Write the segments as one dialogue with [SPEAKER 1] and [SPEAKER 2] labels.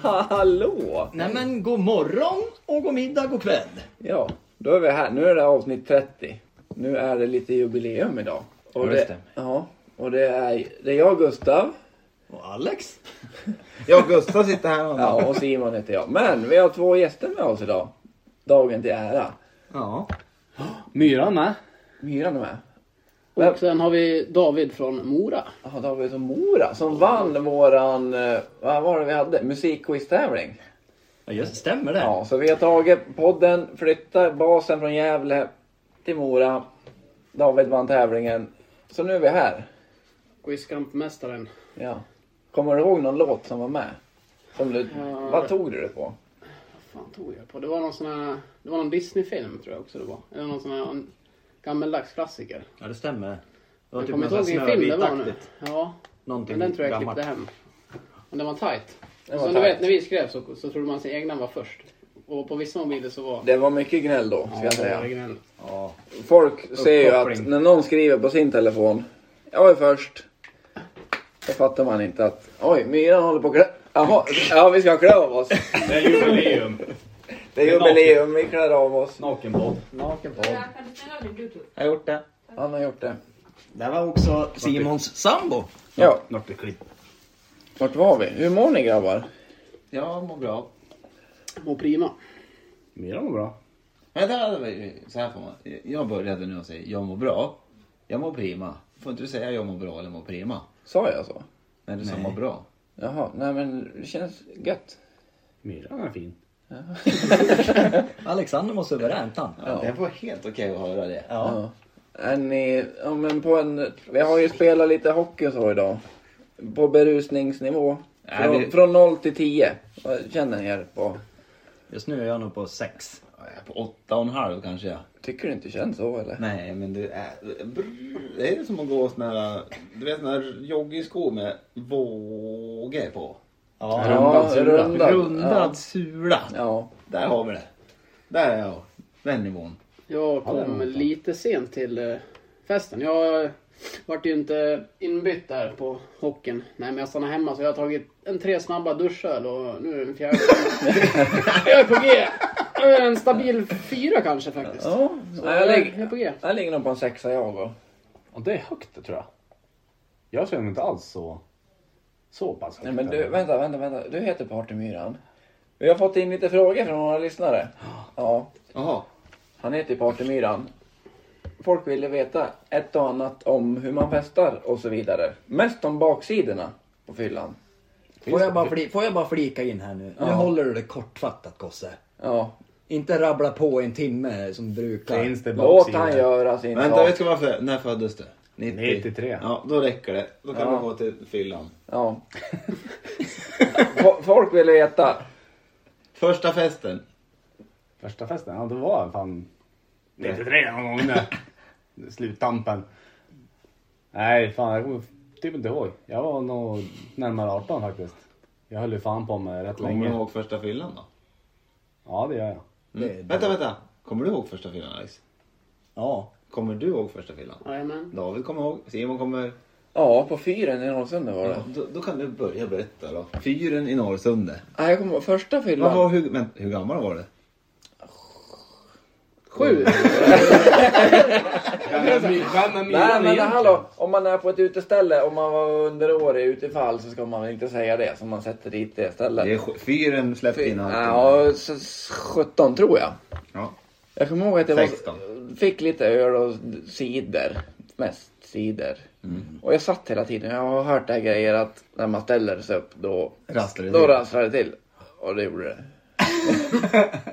[SPEAKER 1] Hallå!
[SPEAKER 2] Nej men god morgon och god middag, god kväll.
[SPEAKER 1] Ja, då är vi här. Nu är det avsnitt 30. Nu är det lite jubileum idag.
[SPEAKER 2] Ja, det stämmer.
[SPEAKER 1] Ja, och det är, det är jag Gustav.
[SPEAKER 2] Och Alex?
[SPEAKER 3] Jag och Gustav sitter här och
[SPEAKER 1] Ja, och Simon heter jag. Men vi har två gäster med oss idag. Dagen till ära.
[SPEAKER 3] ja.
[SPEAKER 4] Myran med.
[SPEAKER 1] Myran är med.
[SPEAKER 4] Och sen har vi David från Mora.
[SPEAKER 1] Ja, David och Mora som vann våran, eh, vad var det vi hade? Musikquiz-tävling.
[SPEAKER 2] Ja just stämmer det.
[SPEAKER 1] Ja, så vi har tagit podden, flyttar basen från Gävle till Mora. David vann tävlingen. Så nu är vi här.
[SPEAKER 4] Quizkampmästaren.
[SPEAKER 1] Ja. Kommer du ihåg någon låt som var med? Som du, Vad tog du det på?
[SPEAKER 4] Vad fan tog jag på? Det var någon sån här... Det var någon Disney-film tror jag också det var. Eller någon sån här en gammaldags klassiker.
[SPEAKER 2] Ja det stämmer. Det var
[SPEAKER 4] Jag
[SPEAKER 2] typ
[SPEAKER 4] kommer
[SPEAKER 2] något
[SPEAKER 4] inte
[SPEAKER 2] sånt
[SPEAKER 4] ihåg vilken film det var nu.
[SPEAKER 2] snövit-aktigt.
[SPEAKER 4] Ja.
[SPEAKER 2] Någonting
[SPEAKER 4] Men den tror jag
[SPEAKER 2] gammalt.
[SPEAKER 4] klippte hem. Men den var tajt.
[SPEAKER 1] Den
[SPEAKER 4] Den
[SPEAKER 1] var
[SPEAKER 4] så du
[SPEAKER 1] tajt.
[SPEAKER 4] vet, när vi skrev så, så trodde man sin egna var först. Och på vissa mobiler så var...
[SPEAKER 1] Det var mycket gnäll då, ska jag
[SPEAKER 4] det var
[SPEAKER 1] säga.
[SPEAKER 4] originellt.
[SPEAKER 2] Ja.
[SPEAKER 1] Folk ser ju att
[SPEAKER 2] Uppkoppling.
[SPEAKER 1] när någon skriver på sin telefon, jag är först. Då fattar man inte att, oj, myran håller på att klä... Jaha, ja vi ska klä av oss.
[SPEAKER 2] Det är jubileum.
[SPEAKER 1] Det är jubileum, vi klär av oss.
[SPEAKER 2] Nakenbad.
[SPEAKER 1] Nakenpodd.
[SPEAKER 5] Kan du ställa av din bluetooth?
[SPEAKER 3] Jag har gjort det.
[SPEAKER 1] Han har gjort det.
[SPEAKER 3] Det var också Simons sambo.
[SPEAKER 1] Ja,
[SPEAKER 2] Vart det klipp.
[SPEAKER 1] vart var vi? Hur mår ni grabbar?
[SPEAKER 3] Jag mår bra.
[SPEAKER 4] Och prima.
[SPEAKER 2] Myran var bra.
[SPEAKER 3] Men det hade varit- så här får man. Jag började nu och säga jag mår bra. Jag mår prima. Får inte du säga jag mår bra eller mår prima?
[SPEAKER 1] Sa jag så?
[SPEAKER 3] När du sa
[SPEAKER 2] Nej.
[SPEAKER 3] mår bra.
[SPEAKER 1] Jaha, nej men det känns gött.
[SPEAKER 4] Myran är fin.
[SPEAKER 2] Alexander var suveränt han.
[SPEAKER 3] Ja. Det var helt okej att höra det.
[SPEAKER 2] Ja.
[SPEAKER 1] Ja. Är ni, ja men på en, vi har ju spelat lite hockey och så idag. På berusningsnivå.
[SPEAKER 3] Nej,
[SPEAKER 1] Från,
[SPEAKER 3] vi-
[SPEAKER 1] från 0 till 10. Vad känner ni er på?
[SPEAKER 2] Just nu är jag nog på sex.
[SPEAKER 3] Jag är På åtta och en halv kanske jag.
[SPEAKER 1] Tycker du inte känns så eller?
[SPEAKER 3] Nej men det är... Det är som att gå såna här... Du vet såna här joggingskor med vågor på.
[SPEAKER 2] Ja.
[SPEAKER 1] Ja, rundad.
[SPEAKER 3] Rundad
[SPEAKER 1] Ja.
[SPEAKER 3] sula.
[SPEAKER 1] Ja.
[SPEAKER 3] Där har vi det. Där är jag. Den nivån.
[SPEAKER 4] Jag kom lite sent till eh, festen. Jag eh, vart ju inte inbytt där på hockeyn. Nej, men jag stannade hemma så jag har tagit en tre snabba duschöl och nu är det en fjärde. jag är på G! Jag är En stabil fyra kanske faktiskt.
[SPEAKER 1] ja. Nej,
[SPEAKER 4] Så
[SPEAKER 1] jag,
[SPEAKER 4] jag, jag är
[SPEAKER 1] ligger,
[SPEAKER 4] på G.
[SPEAKER 1] jag ligger nog på en sexa jag då.
[SPEAKER 6] Och det är högt det tror jag. Jag känner mig inte alls så, så pass högt.
[SPEAKER 1] Nej men du, vänta, vänta, vänta. Du heter Partymyran. Vi har fått in lite frågor från några lyssnare. Ja.
[SPEAKER 3] Jaha.
[SPEAKER 1] Han heter ju Partymyran. Folk ville veta ett och annat om hur man festar och så vidare. Mest om baksidorna på fyllan.
[SPEAKER 2] Får, jag bara fli- får jag bara flika in här nu? Nu håller du det kortfattat Kosse.
[SPEAKER 1] Ja,
[SPEAKER 2] Inte rabbla på en timme som brukar.
[SPEAKER 6] Finns det
[SPEAKER 1] låt
[SPEAKER 6] baksida?
[SPEAKER 1] han göra sin
[SPEAKER 3] Vänta,
[SPEAKER 1] sak.
[SPEAKER 3] vet du varför? När föddes du?
[SPEAKER 6] 93.
[SPEAKER 3] Ja, då räcker det. Då kan
[SPEAKER 1] Ja.
[SPEAKER 3] man gå till fyllan.
[SPEAKER 1] Ja. Fo- Folk ville veta.
[SPEAKER 3] Första festen.
[SPEAKER 6] Första festen, ja det var fan 93 någon gång nu. Sluttampen. Nej, fan jag kommer typ inte ihåg. Jag var nog närmare 18 faktiskt. Jag höll ju fan på med rätt
[SPEAKER 3] Kommer du
[SPEAKER 6] länge.
[SPEAKER 3] ihåg första fyllan då?
[SPEAKER 6] Ja, det gör jag.
[SPEAKER 2] Det är
[SPEAKER 3] Mm. Vänta, vänta. Kommer du ihåg första fyllan Alex?
[SPEAKER 2] Ja.
[SPEAKER 3] Kommer du ihåg första fyllan?
[SPEAKER 4] Jajamän.
[SPEAKER 3] David kommer ihåg. Simon kommer...
[SPEAKER 1] Ja, på fyren i Norrsundet var det.
[SPEAKER 3] Ja, då, då kan du börja berätta då. Fyren i Norrsunde.
[SPEAKER 1] Nej, jag kommer ihåg första
[SPEAKER 3] Vad
[SPEAKER 1] fyllan.
[SPEAKER 3] var, hur, men, hur gammal var du?
[SPEAKER 4] Sju.
[SPEAKER 1] Nej, men hallå. Om man är på ett uteställe och man var underårig utifall så ska man väl inte säga det som man sätter dit det
[SPEAKER 3] Det är
[SPEAKER 1] stället.
[SPEAKER 3] sj- fyren släppte in allt.
[SPEAKER 1] Ja, s- s- 17 tror jag.
[SPEAKER 3] Ja.
[SPEAKER 1] Jag kommer ihåg att jag var,
[SPEAKER 3] 16.
[SPEAKER 1] fick lite öl och cider. Mest cider.
[SPEAKER 3] Mm.
[SPEAKER 1] Och jag satt hela tiden. Jag har hört det här grejer att när man ställer sig upp då,
[SPEAKER 3] Rasslar det
[SPEAKER 1] då
[SPEAKER 3] till.
[SPEAKER 1] rasslar det till. Och det gjorde det. Jag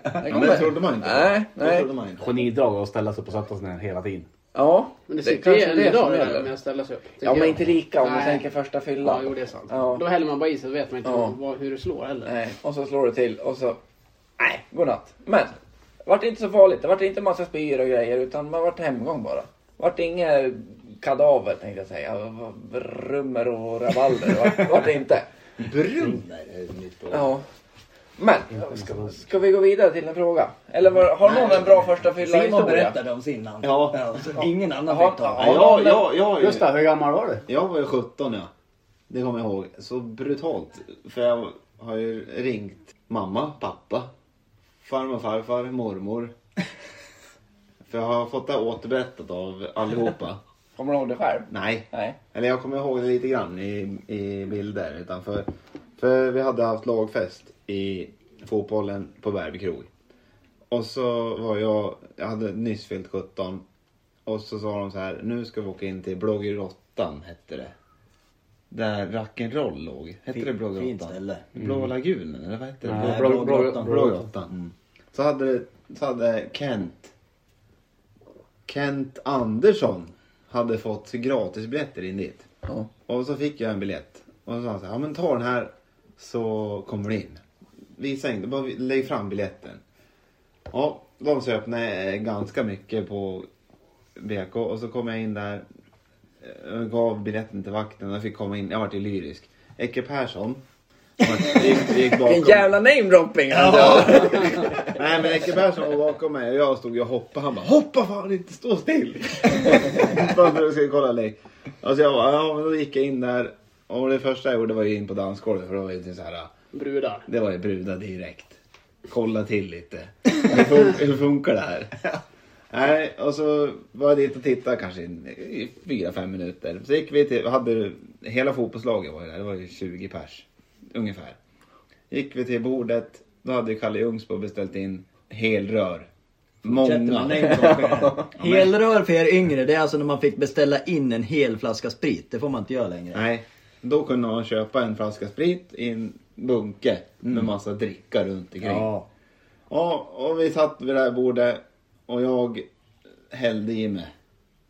[SPEAKER 3] Ja, men
[SPEAKER 1] kommer-
[SPEAKER 3] det trodde man inte.
[SPEAKER 1] Nej,
[SPEAKER 3] Det
[SPEAKER 1] nej.
[SPEAKER 3] trodde man inte.
[SPEAKER 6] Genidrag att ställa sig upp och sätta sig ner hela tiden.
[SPEAKER 1] Ja,
[SPEAKER 4] Men det
[SPEAKER 1] kanske
[SPEAKER 4] sitter ju
[SPEAKER 1] är
[SPEAKER 4] en idag
[SPEAKER 1] som
[SPEAKER 4] det
[SPEAKER 1] gäller.
[SPEAKER 4] där med att ställa sig upp. tycker
[SPEAKER 1] Ja, men
[SPEAKER 4] jag.
[SPEAKER 1] inte lika om man
[SPEAKER 4] Nej.
[SPEAKER 1] tänker första fyllan.
[SPEAKER 4] Ja, jo det är sant.
[SPEAKER 1] Ja.
[SPEAKER 4] Då häller man bara i sig, då vet man inte
[SPEAKER 1] Ja.
[SPEAKER 4] vad, hur det slår heller.
[SPEAKER 1] Nej, och så slår det till och så... Nej, godnatt. Men, vart det inte så farligt. Det vart inte massa spyor och grejer utan man vart hemgång bara. Vart det inga kadaver tänkte jag säga. Rummer och rabalder. Vart, vart det inte.
[SPEAKER 3] Brunner är ett nytt ord.
[SPEAKER 1] Ja. Men, ska, ska vi gå vidare till en fråga? Eller var, har någon en bra första fylla
[SPEAKER 2] Simon
[SPEAKER 1] historia?
[SPEAKER 2] berättade om sin namn.
[SPEAKER 3] Ja.
[SPEAKER 2] så ingen annan
[SPEAKER 1] Ja.
[SPEAKER 2] fick ta.
[SPEAKER 3] Ja, jag, jag, jag, jag,
[SPEAKER 6] Gustav, hur gammal var du?
[SPEAKER 3] Jag var ju 17 ja. Det kommer jag ihåg. Så brutalt. För jag har ju ringt mamma, pappa, farmor, farfar, mormor. För jag har fått det återberättat av allihopa.
[SPEAKER 1] Kommer du ihåg det själv?
[SPEAKER 3] Nej.
[SPEAKER 1] Nej.
[SPEAKER 3] Eller jag kommer ihåg det lite grann i, i bilder. Utan för, för vi hade haft lagfest i fotbollen på Bärby krog. Och så var jag, jag hade nyss fyllt 17. Och så sa de så här, nu ska vi åka in till Blågerottan hette det. Där rock'n'roll låg. Hette
[SPEAKER 2] Fin-
[SPEAKER 3] det Blågerottan?
[SPEAKER 2] fint ställe. Mm.
[SPEAKER 3] Blå lagunen eller vad hette det?
[SPEAKER 6] Nej,
[SPEAKER 3] Blå-
[SPEAKER 6] Blå- Blå-
[SPEAKER 3] Blå- Blågrottan. Så, hade, det- så hade Kent Kent Andersson hade fått gratisbiljetter in dit.
[SPEAKER 1] Ja.
[SPEAKER 3] Och så fick jag en biljett. Och så sa han så här, ja men ta den här så kommer du in. Visa in, bara lägg fram biljetten. Ja, de söp nej, ganska mycket på BK och så kom jag in där. Jag gav biljetten till vakten och jag fick komma in. Jag vart ju lyrisk. Ecke Persson. Vi gick, vi gick bakom.
[SPEAKER 1] Vilken jävla namedropping! Alltså.
[SPEAKER 3] Nej men Ecke Persson var bakom mig och jag stod och hoppade. Han bara hoppa fan inte stå still. Bara för att ska kolla lek. Alltså jag bara, ja men då gick jag in där. Och det första jag gjorde var ju in på dansgolvet för då var det ju typ så här.
[SPEAKER 4] Brudar.
[SPEAKER 3] Det var ju brudar direkt. Kolla till lite. Hur, fun- hur funkar det här? Nej, och så var jag dit och tittade kanske i- i fyra, fem minuter. Så gick vi till, hade, hela fotbollslaget var ju där, det var ju 20 pers ungefär. Gick vi till bordet, då hade ju Kalle Ljungsbo beställt in helrör. Många.
[SPEAKER 2] Helrör för er yngre, det är alltså när man fick beställa in en hel flaska sprit. Det får man inte göra längre.
[SPEAKER 3] Nej, då kunde man köpa en flaska sprit i en bunke med massa dricka runt omkring.
[SPEAKER 6] Mm. Ja.
[SPEAKER 3] Ja, och vi satt vid det här bordet och jag hällde i mig.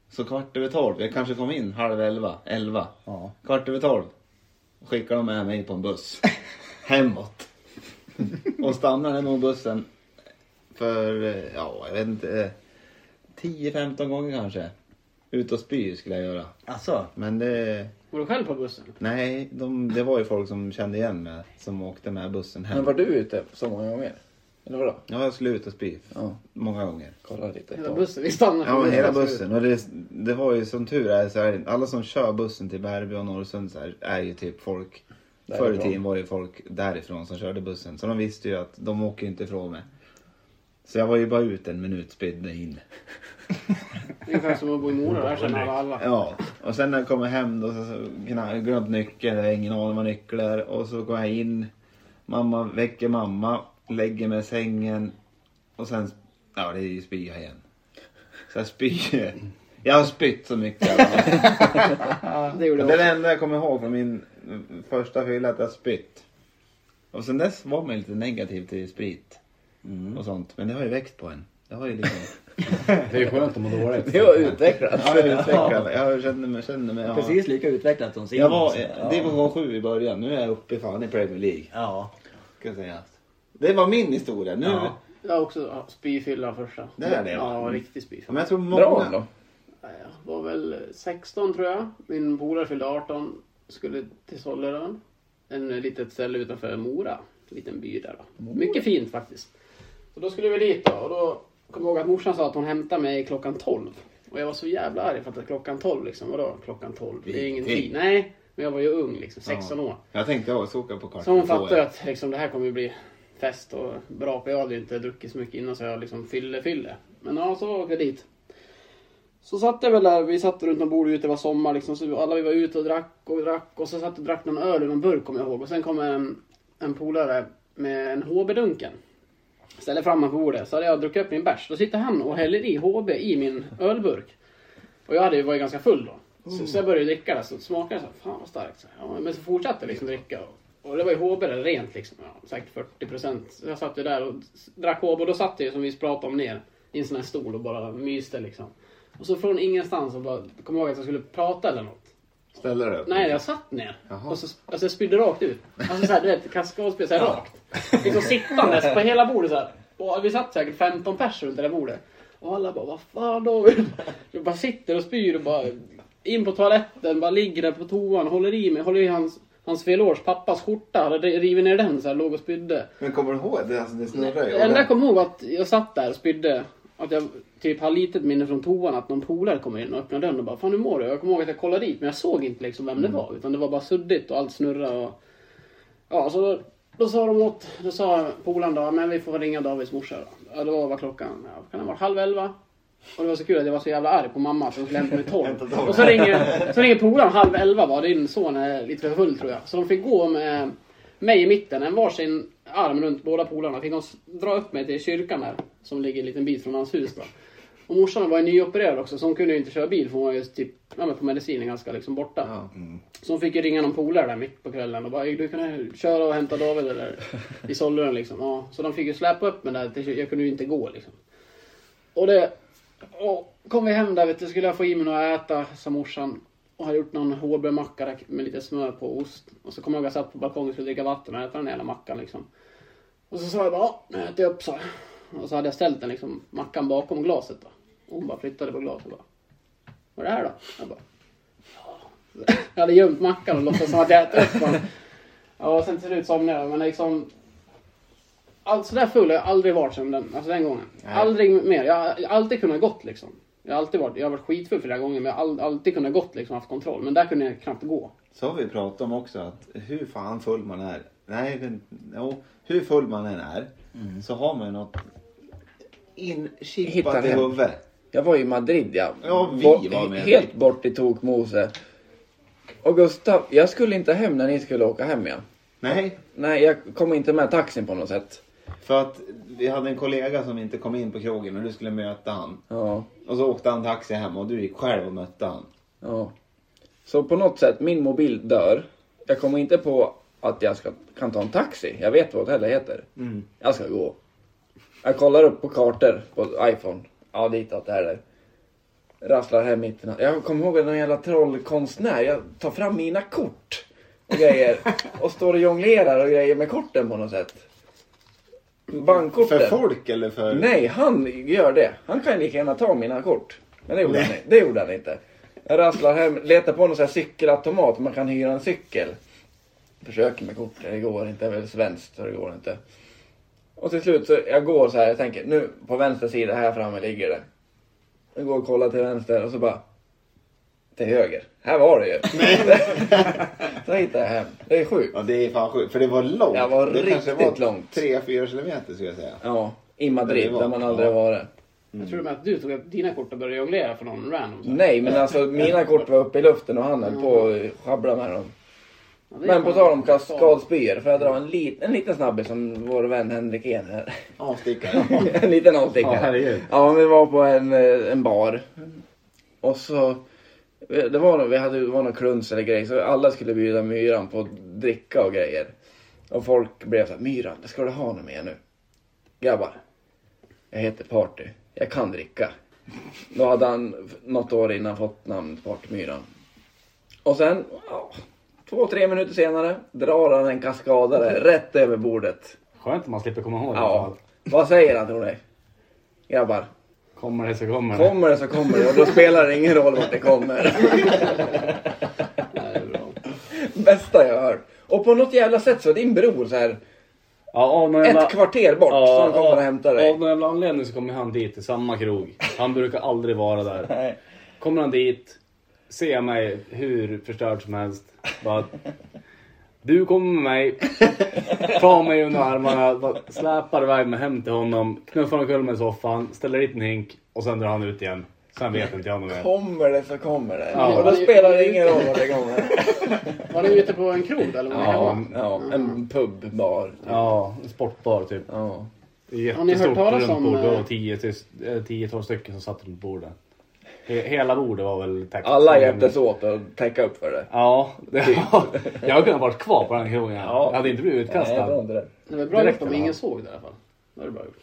[SPEAKER 3] Så kvart över tolv, jag kanske kom in halv elva, elva.
[SPEAKER 6] Ja.
[SPEAKER 3] Kvart över tolv skickade de med mig på en buss hemåt. och stannade nog bussen för, eh, ja jag vet inte, eh, 10-15 gånger kanske. Ut och spy skulle jag göra.
[SPEAKER 2] Alltså,
[SPEAKER 3] Men det,
[SPEAKER 4] Var du själv på bussen?
[SPEAKER 3] nej, de, det var ju folk som kände igen mig som åkte med bussen hem.
[SPEAKER 1] Men var du ute så många gånger? Eller vadå?
[SPEAKER 3] Ja, jag skulle ut och spy
[SPEAKER 1] Ja,
[SPEAKER 3] många gånger.
[SPEAKER 1] kolla lite.
[SPEAKER 4] Hela bussen? Vi stannade
[SPEAKER 3] Ja, men hela bussen. Och det, det var ju som tur är så är alla som kör bussen till Bärby och Norrsund så här, är ju typ folk. Förr i
[SPEAKER 1] Därifrån.
[SPEAKER 3] tiden var ju folk därifrån som körde bussen. Så de visste ju att de åker ju inte ifrån mig. Så jag var ju bara ut en minut, spydde in.
[SPEAKER 4] Ungefär som att bo i Mora, där känner alla alla.
[SPEAKER 3] Ja, och sen när jag kommer hem då så, så gna- glömt nyckeln, jag har ingen aning var nyckeln är. Och så går jag in, mamma väcker mamma, lägger mig i sängen och sen, ja det är ju spya igen. Så jag spyr. Jag har spytt så mycket.
[SPEAKER 4] Det gjorde
[SPEAKER 3] Det är
[SPEAKER 4] jag
[SPEAKER 3] det
[SPEAKER 4] också.
[SPEAKER 3] enda jag kommer ihåg från min mm, första fylla, att jag spytt. Och sen dess var man ju lite negativ till sprit och sånt. Men det har ju växt på en. Det har ju liksom...
[SPEAKER 6] Det är ju skönt om man dåligt.
[SPEAKER 1] Det var utvecklat.
[SPEAKER 3] Jag har utvecklat, jag känner mig... Känner mig ja.
[SPEAKER 2] precis lika utvecklat som sin.
[SPEAKER 3] Jag var
[SPEAKER 2] ja.
[SPEAKER 3] eh, division 7 i början, nu är jag uppe fan i Premier League.
[SPEAKER 2] Ja.
[SPEAKER 3] Kan jag säga. Det var min historia. Nu,
[SPEAKER 2] Ja.
[SPEAKER 4] Jag har också ja, spyfylla första.
[SPEAKER 3] Det är det, va? Mm.
[SPEAKER 4] Ja, riktig spyfylla.
[SPEAKER 3] Men jag tror många...
[SPEAKER 1] Bra ändå.
[SPEAKER 4] Ja, Jag var väl 16 tror jag. Min polare fyllde 18. Skulle till Sollerön. En litet ställe utanför Mora. En liten by där då. Mycket fint faktiskt. Så då skulle vi dit då. Och då kom jag ihåg att morsan sa att hon hämtade mig klockan 12. Och jag var så jävla arg för att det är klockan 12 liksom. Vadå klockan 12? Det är ju ingen tid.
[SPEAKER 3] Ingenting.
[SPEAKER 4] Nej, men jag var ju ung liksom. 16
[SPEAKER 3] Ja.
[SPEAKER 4] år.
[SPEAKER 3] Jag tänkte jag ska åka på kvart
[SPEAKER 4] Så hon
[SPEAKER 3] över två,
[SPEAKER 4] fattar ju
[SPEAKER 3] ja.
[SPEAKER 4] att liksom, det här kommer ju bli fest och bra. För jag hade ju inte druckit så mycket innan så jag liksom fylle, fylle. Men ja, så åkte jag dit. Så satt jag väl där, vi satt runt om bordet ute, det var sommar liksom. Så alla vi var ute och drack och drack. Och så satt och drack någon öl ur någon burk kommer jag ihåg. Och sen kom en, en polare med en HB-dunken. Ställer fram den på bordet. Så hade jag druckit upp min bärs. Då sitter han och häller i HB i min ölburk. Och jag hade ju varit ganska full då. Så, så jag började dricka det, så smakade det så här, fan vad starkt. Så här. Ja, men så fortsatte jag liksom dricka. Och, och det var ju HB där, rent liksom. Ja, säkert 40 procent. Så jag satt ju där och s- drack HB och då satt jag ju som vi pratade om ner i en sån här stol och bara myste liksom. Och så från ingenstans så bara, kom jag ihåg att jag skulle prata eller något.
[SPEAKER 3] Ställer du upp?
[SPEAKER 4] Nej, jag satt ner.
[SPEAKER 3] Jaha.
[SPEAKER 4] Och så, alltså jag spydde rakt ut. Alltså såhär, du vet, kaskadspel såhär rakt. Liksom sittandes på hela bordet såhär. Och vi satt säkert 15 personer runt det där bordet. Och alla bara, vad fan David? Du bara sitter och spyr och bara in på toaletten, bara ligger där på toan, håller i mig, håller i hans, hans felårs pappas skjorta, hade rivit ner den såhär, låg och spydde.
[SPEAKER 3] Men kommer du ihåg? Det, alltså, det snurrar ju.
[SPEAKER 4] Det enda jag kommer ihåg var att jag satt där och spydde. Att jag typ har litet minne från toan att någon polare kommer in och öppnar dörren och bara Fan hur mår du? Jag kommer ihåg att jag Mm. kollade dit men jag såg inte liksom vem det var. Utan det var bara suddigt och allt snurrade och... Ja, så Då sa de något, då sa polaren då, men vi får ringa Davids morsa då. Ja, då var klockan, ja, kan det ha varit halv elva? Och det var så kul att jag var så jävla arg på mamma för hon skulle hämta mig tolv. Och så ringer, så ringer polaren halv elva var din son är lite för full tror jag. Så de fick gå med mig i mitten, en varsin arm runt båda polarna. Fick de s- dra upp mig till kyrkan där, som ligger en liten bit från hans hus då. Och morsan var ju nyopererad också så hon kunde ju inte köra bil för hon var ju typ, ja, men på medicinen ganska liksom borta.
[SPEAKER 1] Ja.
[SPEAKER 4] Så hon fick ju ringa någon polare där mitt på kvällen och bara du kan köra och hämta David eller i Solleren liksom. Ja, så de fick ju släpa upp mig där, till- jag kunde ju inte gå liksom. Och det... Och kom vi hem där vet du, skulle jag få i mig något att äta, sa morsan. Och hade gjort någon hårdbrödmacka där med lite smör på och ost. Och så kom jag och jag satt på balkongen och skulle dricka vatten och äta den jävla mackan liksom. Och så sa jag bara, "Ja, nu äter jag upp så. Och så hade jag ställt den liksom, mackan bakom glaset då. Och hon bara flyttade på glaset och bara. Vad är det här då? Jag bara, "Ja." jag hade gömt mackan och låtsats som att jag äter upp den. Ja, och sen till slut somnade jag. Men liksom, allt sådär full har jag aldrig varit sedan den, alltså den gången. Aldrig mer. Jag har alltid kunnat gått liksom. Jag har alltid varit, jag har varit skitfull flera gånger men jag har all, alltid kunnat gått liksom, haft kontroll. Men där kunde jag knappt gå.
[SPEAKER 3] Så har vi pratat om också att hur fan full man är. Nej, men, jo, hur full man än är
[SPEAKER 2] Mm.
[SPEAKER 3] så har man ju något
[SPEAKER 1] Hittar
[SPEAKER 3] inchippat i
[SPEAKER 1] hem.
[SPEAKER 3] huvudet.
[SPEAKER 1] Jag var i Madrid ja.
[SPEAKER 3] Ja, vi
[SPEAKER 1] Bort-
[SPEAKER 3] var med.
[SPEAKER 1] Helt bort i tokmose. Och Gustav, jag skulle inte hem när ni skulle åka hem igen.
[SPEAKER 3] Nej,
[SPEAKER 1] Nej, jag kom inte med taxin på något sätt.
[SPEAKER 3] för att vi hade en kollega som inte kom in på krogen och du skulle möta han.
[SPEAKER 1] Ja,
[SPEAKER 3] Och så åkte han taxi hem och du gick själv och mötte han.
[SPEAKER 1] ja. Så på något sätt, min mobil dör. Jag kommer inte på att jag ska, kan ta en taxi. Jag vet vad hotellet heter.
[SPEAKER 3] Mm.
[SPEAKER 1] Jag ska gå. Jag kollar upp på kartor på iPhone. Ja, ditåt, där där. Rasslar hem mitt i natten. Jag kommer ihåg någon jävla trollkonstnär. Jag tar fram mina kort och grejer. Och står och jonglerar och grejer med korten på något sätt. Bankkorten.
[SPEAKER 3] För folk eller för...
[SPEAKER 1] Nej, han gör det. Han kan ju lika gärna ta mina kort. Men det gjorde, han, inte. det gjorde han inte. Jag rasslar hem, letar på någon sån här cykelautomat, man kan hyra en cykel. Försöker med kortet, det går inte. Det är väl svenskt, så det går inte. Och till slut så, jag går så här, jag tänker nu på vänster sida, här framme ligger det. Jag går och kollar till vänster och så bara till höger. Här var det ju. så hittar jag hem. Det är sjukt.
[SPEAKER 3] Ja, det är fan sjukt. För det var långt.
[SPEAKER 1] Det var
[SPEAKER 3] det kanske
[SPEAKER 1] riktigt
[SPEAKER 3] var
[SPEAKER 1] långt.
[SPEAKER 3] Tre, fyra kilometer skulle jag säga.
[SPEAKER 1] Ja, i Madrid, där man aldrig har varit.
[SPEAKER 4] Jag tror med att du tog upp dina kort och började jonglera för någon random. så här.
[SPEAKER 1] Nej, men alltså mina kort var uppe i luften och han höll på och sjabbla med dem.
[SPEAKER 4] Ja, det är
[SPEAKER 1] Men på
[SPEAKER 4] fan-
[SPEAKER 1] tal om kaskadspyor, får jag dra en, lit, en liten snabbis som vår vän Henrik En här.
[SPEAKER 3] Avstickare.
[SPEAKER 1] en liten
[SPEAKER 6] Ja,
[SPEAKER 1] avstickare.
[SPEAKER 6] herregud.
[SPEAKER 1] Ja, men vi var på en, eh, en bar. Och så, det var, nog- vi hade, det var någon kluns eller grej, så alla skulle bjuda Myran på att dricka och grejer. Och folk blev såhär, Myran, det ska du ha något med nu. Grabbar, jag heter Party, jag kan dricka. Då hade han f- något år innan fått namnet Partymyran. Och sen, ja, två, tre minuter senare drar han en kaskadare rätt över bordet.
[SPEAKER 6] Skönt att man slipper komma ihåg i alla
[SPEAKER 1] Ja,
[SPEAKER 6] fall.
[SPEAKER 1] vad säger han tror ni? Grabbar,
[SPEAKER 6] Kommer det så kommer det.
[SPEAKER 1] Kommer det så kommer det och då spelar det ingen roll vart det kommer.
[SPEAKER 4] Nej, det är bra.
[SPEAKER 1] Bästa jag har hört. Och på något jävla sätt så är din bror så här
[SPEAKER 6] Ja, av någon jävla-
[SPEAKER 1] ett kvarter bort så han kommer och hämtar
[SPEAKER 6] Av
[SPEAKER 1] dig.
[SPEAKER 6] någon jävla anledning så kommer han dit till samma krog. Han brukar aldrig vara där.
[SPEAKER 1] Nej.
[SPEAKER 6] Kommer han dit, ser mig hur förstörd som helst. Bara, du kommer med mig, tar mig under armarna, bara släpar iväg mig hem till honom, knuffar omkull mig i soffan, ställer dit en hink och sen drar han ut igen. Sen vet inte jag något mer.
[SPEAKER 1] Kommer det så kommer det.
[SPEAKER 6] Ja.
[SPEAKER 1] Och då spelar det ingen roll vart det kommer.
[SPEAKER 4] Var ni ute på en krog då, eller var ni
[SPEAKER 1] Ja,
[SPEAKER 4] hemma?
[SPEAKER 1] ja en pubbar.
[SPEAKER 6] Ja, en sportbar typ.
[SPEAKER 1] Ja.
[SPEAKER 4] Har ni hört
[SPEAKER 6] Jättestort
[SPEAKER 4] talas
[SPEAKER 6] runt
[SPEAKER 4] om,
[SPEAKER 6] bord. Det var
[SPEAKER 4] eh,
[SPEAKER 6] 10-12 stycken som satt runt bordet. He- Hela bordet var väl täckt.
[SPEAKER 1] Alla hjälptes åt att täcka upp för det.
[SPEAKER 6] Ja, det, jag hade kunnat varit kvar på den krogen.
[SPEAKER 1] Ja.
[SPEAKER 6] Jag hade inte blivit
[SPEAKER 1] Nej, det var
[SPEAKER 6] utkastad.
[SPEAKER 1] inte det.
[SPEAKER 4] Det var bra
[SPEAKER 6] Direkt,
[SPEAKER 4] gjort om
[SPEAKER 6] va?
[SPEAKER 4] ingen såg det i alla fall. Det var det bra gjort.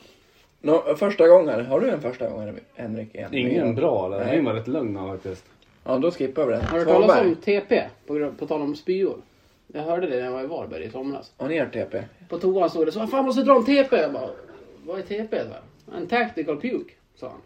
[SPEAKER 1] Nå, första gången, har du en första gång Henrik? igen?
[SPEAKER 6] Ingen bra eller?
[SPEAKER 1] Nej.
[SPEAKER 6] Nej. var rätt lugn han faktiskt.
[SPEAKER 1] Ja, då skippar vi den.
[SPEAKER 4] Har du hört talas om
[SPEAKER 1] Svanberg,
[SPEAKER 4] TP? På, gr- på tal om spyor. Jag hörde det när jag var i Varberg i somras.
[SPEAKER 1] har ni hört E TP?
[SPEAKER 4] På toan såg det så fan måste jag dra en TP. Jag bara, vad är TP? Så här, en tactical puke, sa han.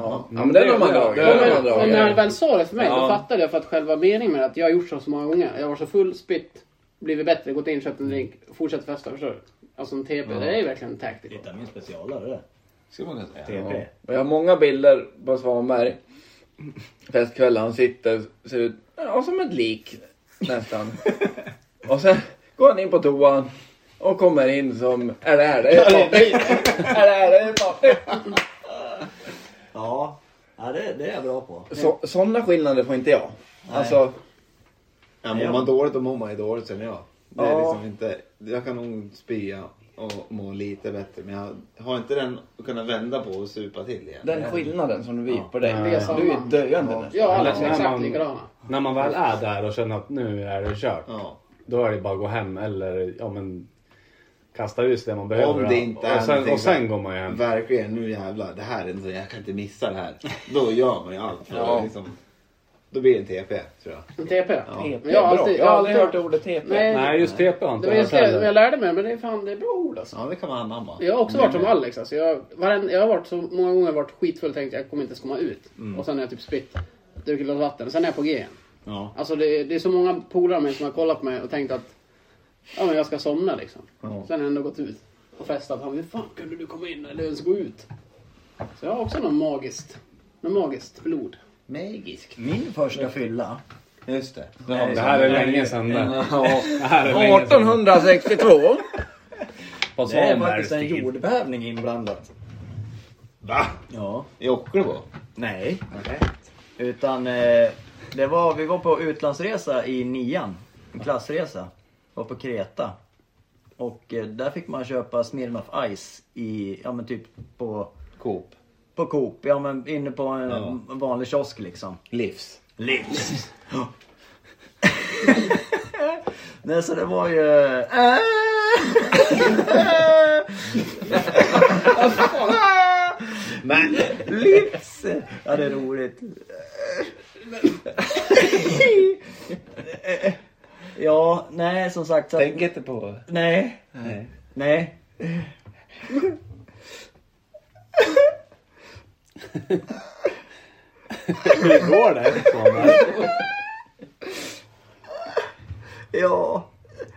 [SPEAKER 1] Ja, ja
[SPEAKER 6] Mm,
[SPEAKER 1] men den
[SPEAKER 6] det-
[SPEAKER 1] har man
[SPEAKER 6] det-
[SPEAKER 1] dragit.
[SPEAKER 6] det-
[SPEAKER 1] Den har man
[SPEAKER 4] Men, och när han
[SPEAKER 1] dragit.
[SPEAKER 4] väl sa det för mig,
[SPEAKER 1] Ja.
[SPEAKER 4] då fattade jag för att själva meningen med det, att jag har gjort så, så många gånger. Jag var så full, spytt, blivit bättre, gått in, köpt en drink, fortsatt festa, förstår du? Alltså en TP, det är ju verkligen en tactical.
[SPEAKER 2] Lite av min specialare det.
[SPEAKER 3] Skulle man kunna säga.
[SPEAKER 2] TP.
[SPEAKER 1] Och Jag har många bilder på Svanberg. Festkväll, han sitter, ser ut ja, som ett lik nästan. och sen går han in på toan, Och kommer in som, är det, är det, är det, Patrik? är det, är det, är det Patrik?
[SPEAKER 2] Ja, ja det, det är jag bra på.
[SPEAKER 1] Så, sådana skillnader får inte jag.
[SPEAKER 2] Nej.
[SPEAKER 1] Alltså,
[SPEAKER 3] Ja, mår man dåligt då mår man ju dåligt känner jag. Det är
[SPEAKER 1] Ja.
[SPEAKER 3] liksom inte, jag kan nog spya och må lite bättre men jag har inte den att kunna vända på och supa till igen.
[SPEAKER 1] den skillnaden som du blir på dig.
[SPEAKER 6] Ja.
[SPEAKER 1] Du är ju döende nästan.
[SPEAKER 4] Ja, alla
[SPEAKER 6] Eller
[SPEAKER 4] är
[SPEAKER 6] när
[SPEAKER 4] exakt
[SPEAKER 6] man-
[SPEAKER 4] likadana.
[SPEAKER 6] När man väl är där och känner att nu är det kört.
[SPEAKER 3] Ja.
[SPEAKER 6] Då är det bara att gå hem eller ja, men, kasta ut det man behöver.
[SPEAKER 3] Om det inte är
[SPEAKER 6] och sen,
[SPEAKER 3] någonting
[SPEAKER 6] och sen
[SPEAKER 3] som-
[SPEAKER 6] går man ju hem.
[SPEAKER 3] Verkligen, nu jävlar. Det här är inte, jag kan inte missa det här. Då gör man ju allt för
[SPEAKER 1] Ja.
[SPEAKER 3] att liksom, Då blir det en TP tror jag.
[SPEAKER 4] En TP.
[SPEAKER 1] TP,
[SPEAKER 4] Jag har
[SPEAKER 1] bra.
[SPEAKER 4] alltid-
[SPEAKER 1] Jag har aldrig
[SPEAKER 4] jag har
[SPEAKER 1] hört ordet TP.
[SPEAKER 4] Nej,
[SPEAKER 6] Nej, just TP har
[SPEAKER 4] det
[SPEAKER 6] inte
[SPEAKER 4] var
[SPEAKER 6] jag
[SPEAKER 4] just det
[SPEAKER 6] heller.
[SPEAKER 4] jag lärde mig, men det är fan det är bra ord alltså.
[SPEAKER 3] Ja, det kan man anamma.
[SPEAKER 4] Jag har också varit som Alex. Alltså. Jag, varenda, jag har varit så många gånger varit skitfull och tänkt att jag kommer inte ens komma ut. Och sen är jag typ spritt. Druckit ett glas vatten. Sen är jag på G igen.
[SPEAKER 3] Ja.
[SPEAKER 4] Alltså det, det är så många polare med som har kollat på mig och tänkt att ja, men jag ska somna liksom.
[SPEAKER 3] Ja.
[SPEAKER 4] Sen har jag ändå gått ut och festat. Han hur fan kunde du komma in eller ens gå ut? Så jag har också något magiskt, något magiskt blod.
[SPEAKER 3] Magisk.
[SPEAKER 2] Min första fylla.
[SPEAKER 3] Just det.
[SPEAKER 6] Det här är länge sedan det. Det här är länge sedan.
[SPEAKER 1] 1862.
[SPEAKER 6] På
[SPEAKER 2] Det är
[SPEAKER 6] Svanbergs
[SPEAKER 2] faktiskt en
[SPEAKER 6] tid.
[SPEAKER 2] jordbävning inblandat.
[SPEAKER 3] Va?
[SPEAKER 2] Ja.
[SPEAKER 3] I Ockelbo?
[SPEAKER 2] Nej. Utan eh, det var, vi var på utlandsresa i nian. En klassresa. Var på Kreta. Och eh, där fick man köpa Smirnoff Ice i, ja men typ på,
[SPEAKER 3] Coop?
[SPEAKER 2] på Coop. Ja men inne på en
[SPEAKER 3] Ja.
[SPEAKER 2] vanlig kiosk liksom.
[SPEAKER 3] Livs?
[SPEAKER 2] Livs. Nej så det var ju... Äh.
[SPEAKER 3] Men!
[SPEAKER 2] Livs! Ja det är roligt. Ja, nej som sagt. Så att,
[SPEAKER 1] Tänk inte på...
[SPEAKER 2] nej,
[SPEAKER 3] Nej.
[SPEAKER 2] nej.
[SPEAKER 6] Hur går det? Svanberg?
[SPEAKER 2] Ja.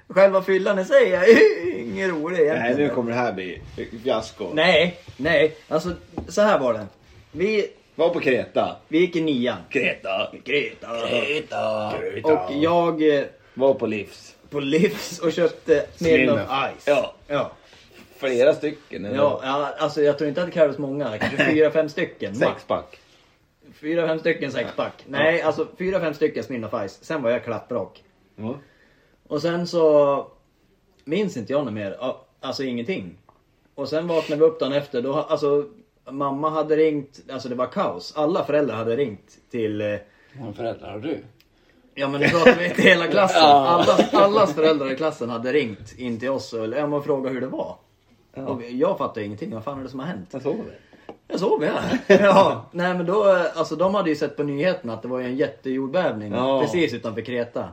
[SPEAKER 2] Själva fyllan i sig är inget rolig
[SPEAKER 3] Nej,
[SPEAKER 2] egentligen.
[SPEAKER 3] nu kommer det här bli fiasko.
[SPEAKER 2] Nej, nej. Alltså så här var det. Vi,
[SPEAKER 3] Var på Kreta.
[SPEAKER 2] vi gick i nian.
[SPEAKER 3] Kreta.
[SPEAKER 2] Greta.
[SPEAKER 3] Kreta.
[SPEAKER 2] Och jag eh,
[SPEAKER 3] Var på Livs.
[SPEAKER 2] på Livs och köpte Smirnoff Ice.
[SPEAKER 3] Ja.
[SPEAKER 2] Ja.
[SPEAKER 3] Flera stycken. eller?
[SPEAKER 2] Ja, ja, alltså jag tror inte att det krävdes många. Kanske fyra, fem stycken. max.
[SPEAKER 3] Sexpack.
[SPEAKER 2] Fyra, fem stycken sexpack. Nej, alltså fyra, fem stycken Smirnoff Ice. Sen var jag klapprak.
[SPEAKER 3] Ja.
[SPEAKER 2] Och sen så minns inte jag något mer. Ja, Alltså ingenting. Och sen vaknade vi upp dagen efter. Då, ha- alltså, mamma hade ringt. Alltså det var kaos. Alla föräldrar hade ringt till eh,
[SPEAKER 6] Vad föräldrar har du?
[SPEAKER 2] Ja men nu pratar vi till hela klassen. Allas, allas föräldrar i klassen hade ringt in till oss och ja, man frågade hur det var. Och jag fattade ingenting. Vad fan är det som har hänt?
[SPEAKER 3] Jag såg det.
[SPEAKER 2] Jag sov ja. ja. Nej men då, eh, alltså de hade ju sett på nyheterna att det var ju en jättejordbävning
[SPEAKER 3] Ja.
[SPEAKER 2] precis utanför Kreta.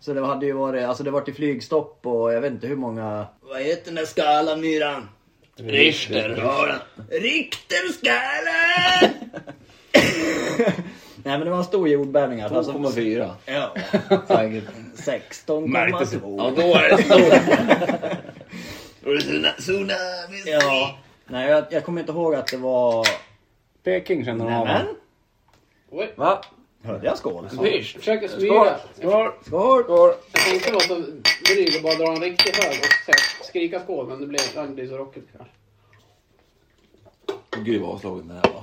[SPEAKER 2] Så det hade ju varit, alltså det var till flygstopp och jag vet inte hur många... Vad heter den där skalan myran? Richter. Richterskalan! Nej men det var en stor jordbävning i alla fall. Alltså,
[SPEAKER 3] 2,4.
[SPEAKER 2] ja,
[SPEAKER 3] Säkert.
[SPEAKER 2] 16,2.
[SPEAKER 3] då är det stor. Tsunami.
[SPEAKER 2] Ja. Nej jag, jag kommer inte ihåg att det var...
[SPEAKER 6] Peking känner hon av.
[SPEAKER 2] Nämen!
[SPEAKER 4] Oj,
[SPEAKER 1] Va?
[SPEAKER 2] Hörde jag skål?
[SPEAKER 4] jag försöker smyga.
[SPEAKER 1] Skål!
[SPEAKER 2] Skål!
[SPEAKER 1] Skål!
[SPEAKER 4] Jag tänkte vara så dryg och bara dra en riktig hög och säga- skrika skål, men det blev, det blir så rockigt kanske.
[SPEAKER 1] Gud vad avslagen den här var.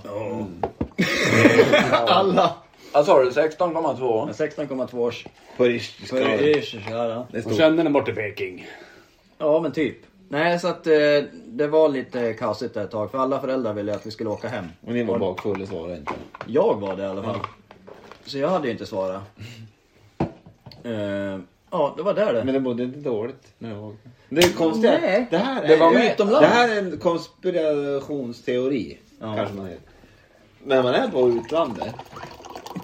[SPEAKER 2] Alla!
[SPEAKER 1] Vad sa du? 16,2?
[SPEAKER 2] 16,2 års.
[SPEAKER 3] På Richtskalan.
[SPEAKER 2] Skål.
[SPEAKER 3] Det är
[SPEAKER 6] Hon
[SPEAKER 3] stort.
[SPEAKER 6] kände den bort i Peking.
[SPEAKER 2] Ja men typ. Nej så att eh, det var lite kaosigt där ett tag för alla föräldrar ville att vi skulle åka hem.
[SPEAKER 3] Och ni var bakfull och svarade inte.
[SPEAKER 2] Jag var det i alla fall. Så jag hade ju inte svarat. Eh, ja det var där det.
[SPEAKER 3] Men det mådde inte dåligt när jag vaknade. Det är konstigt.
[SPEAKER 2] Nej.
[SPEAKER 3] Det här är,
[SPEAKER 2] Det var med. Utomlands.
[SPEAKER 3] det här är en konspirationsteori.
[SPEAKER 2] Ja.
[SPEAKER 3] Kanske man heter. När man är på utlandet.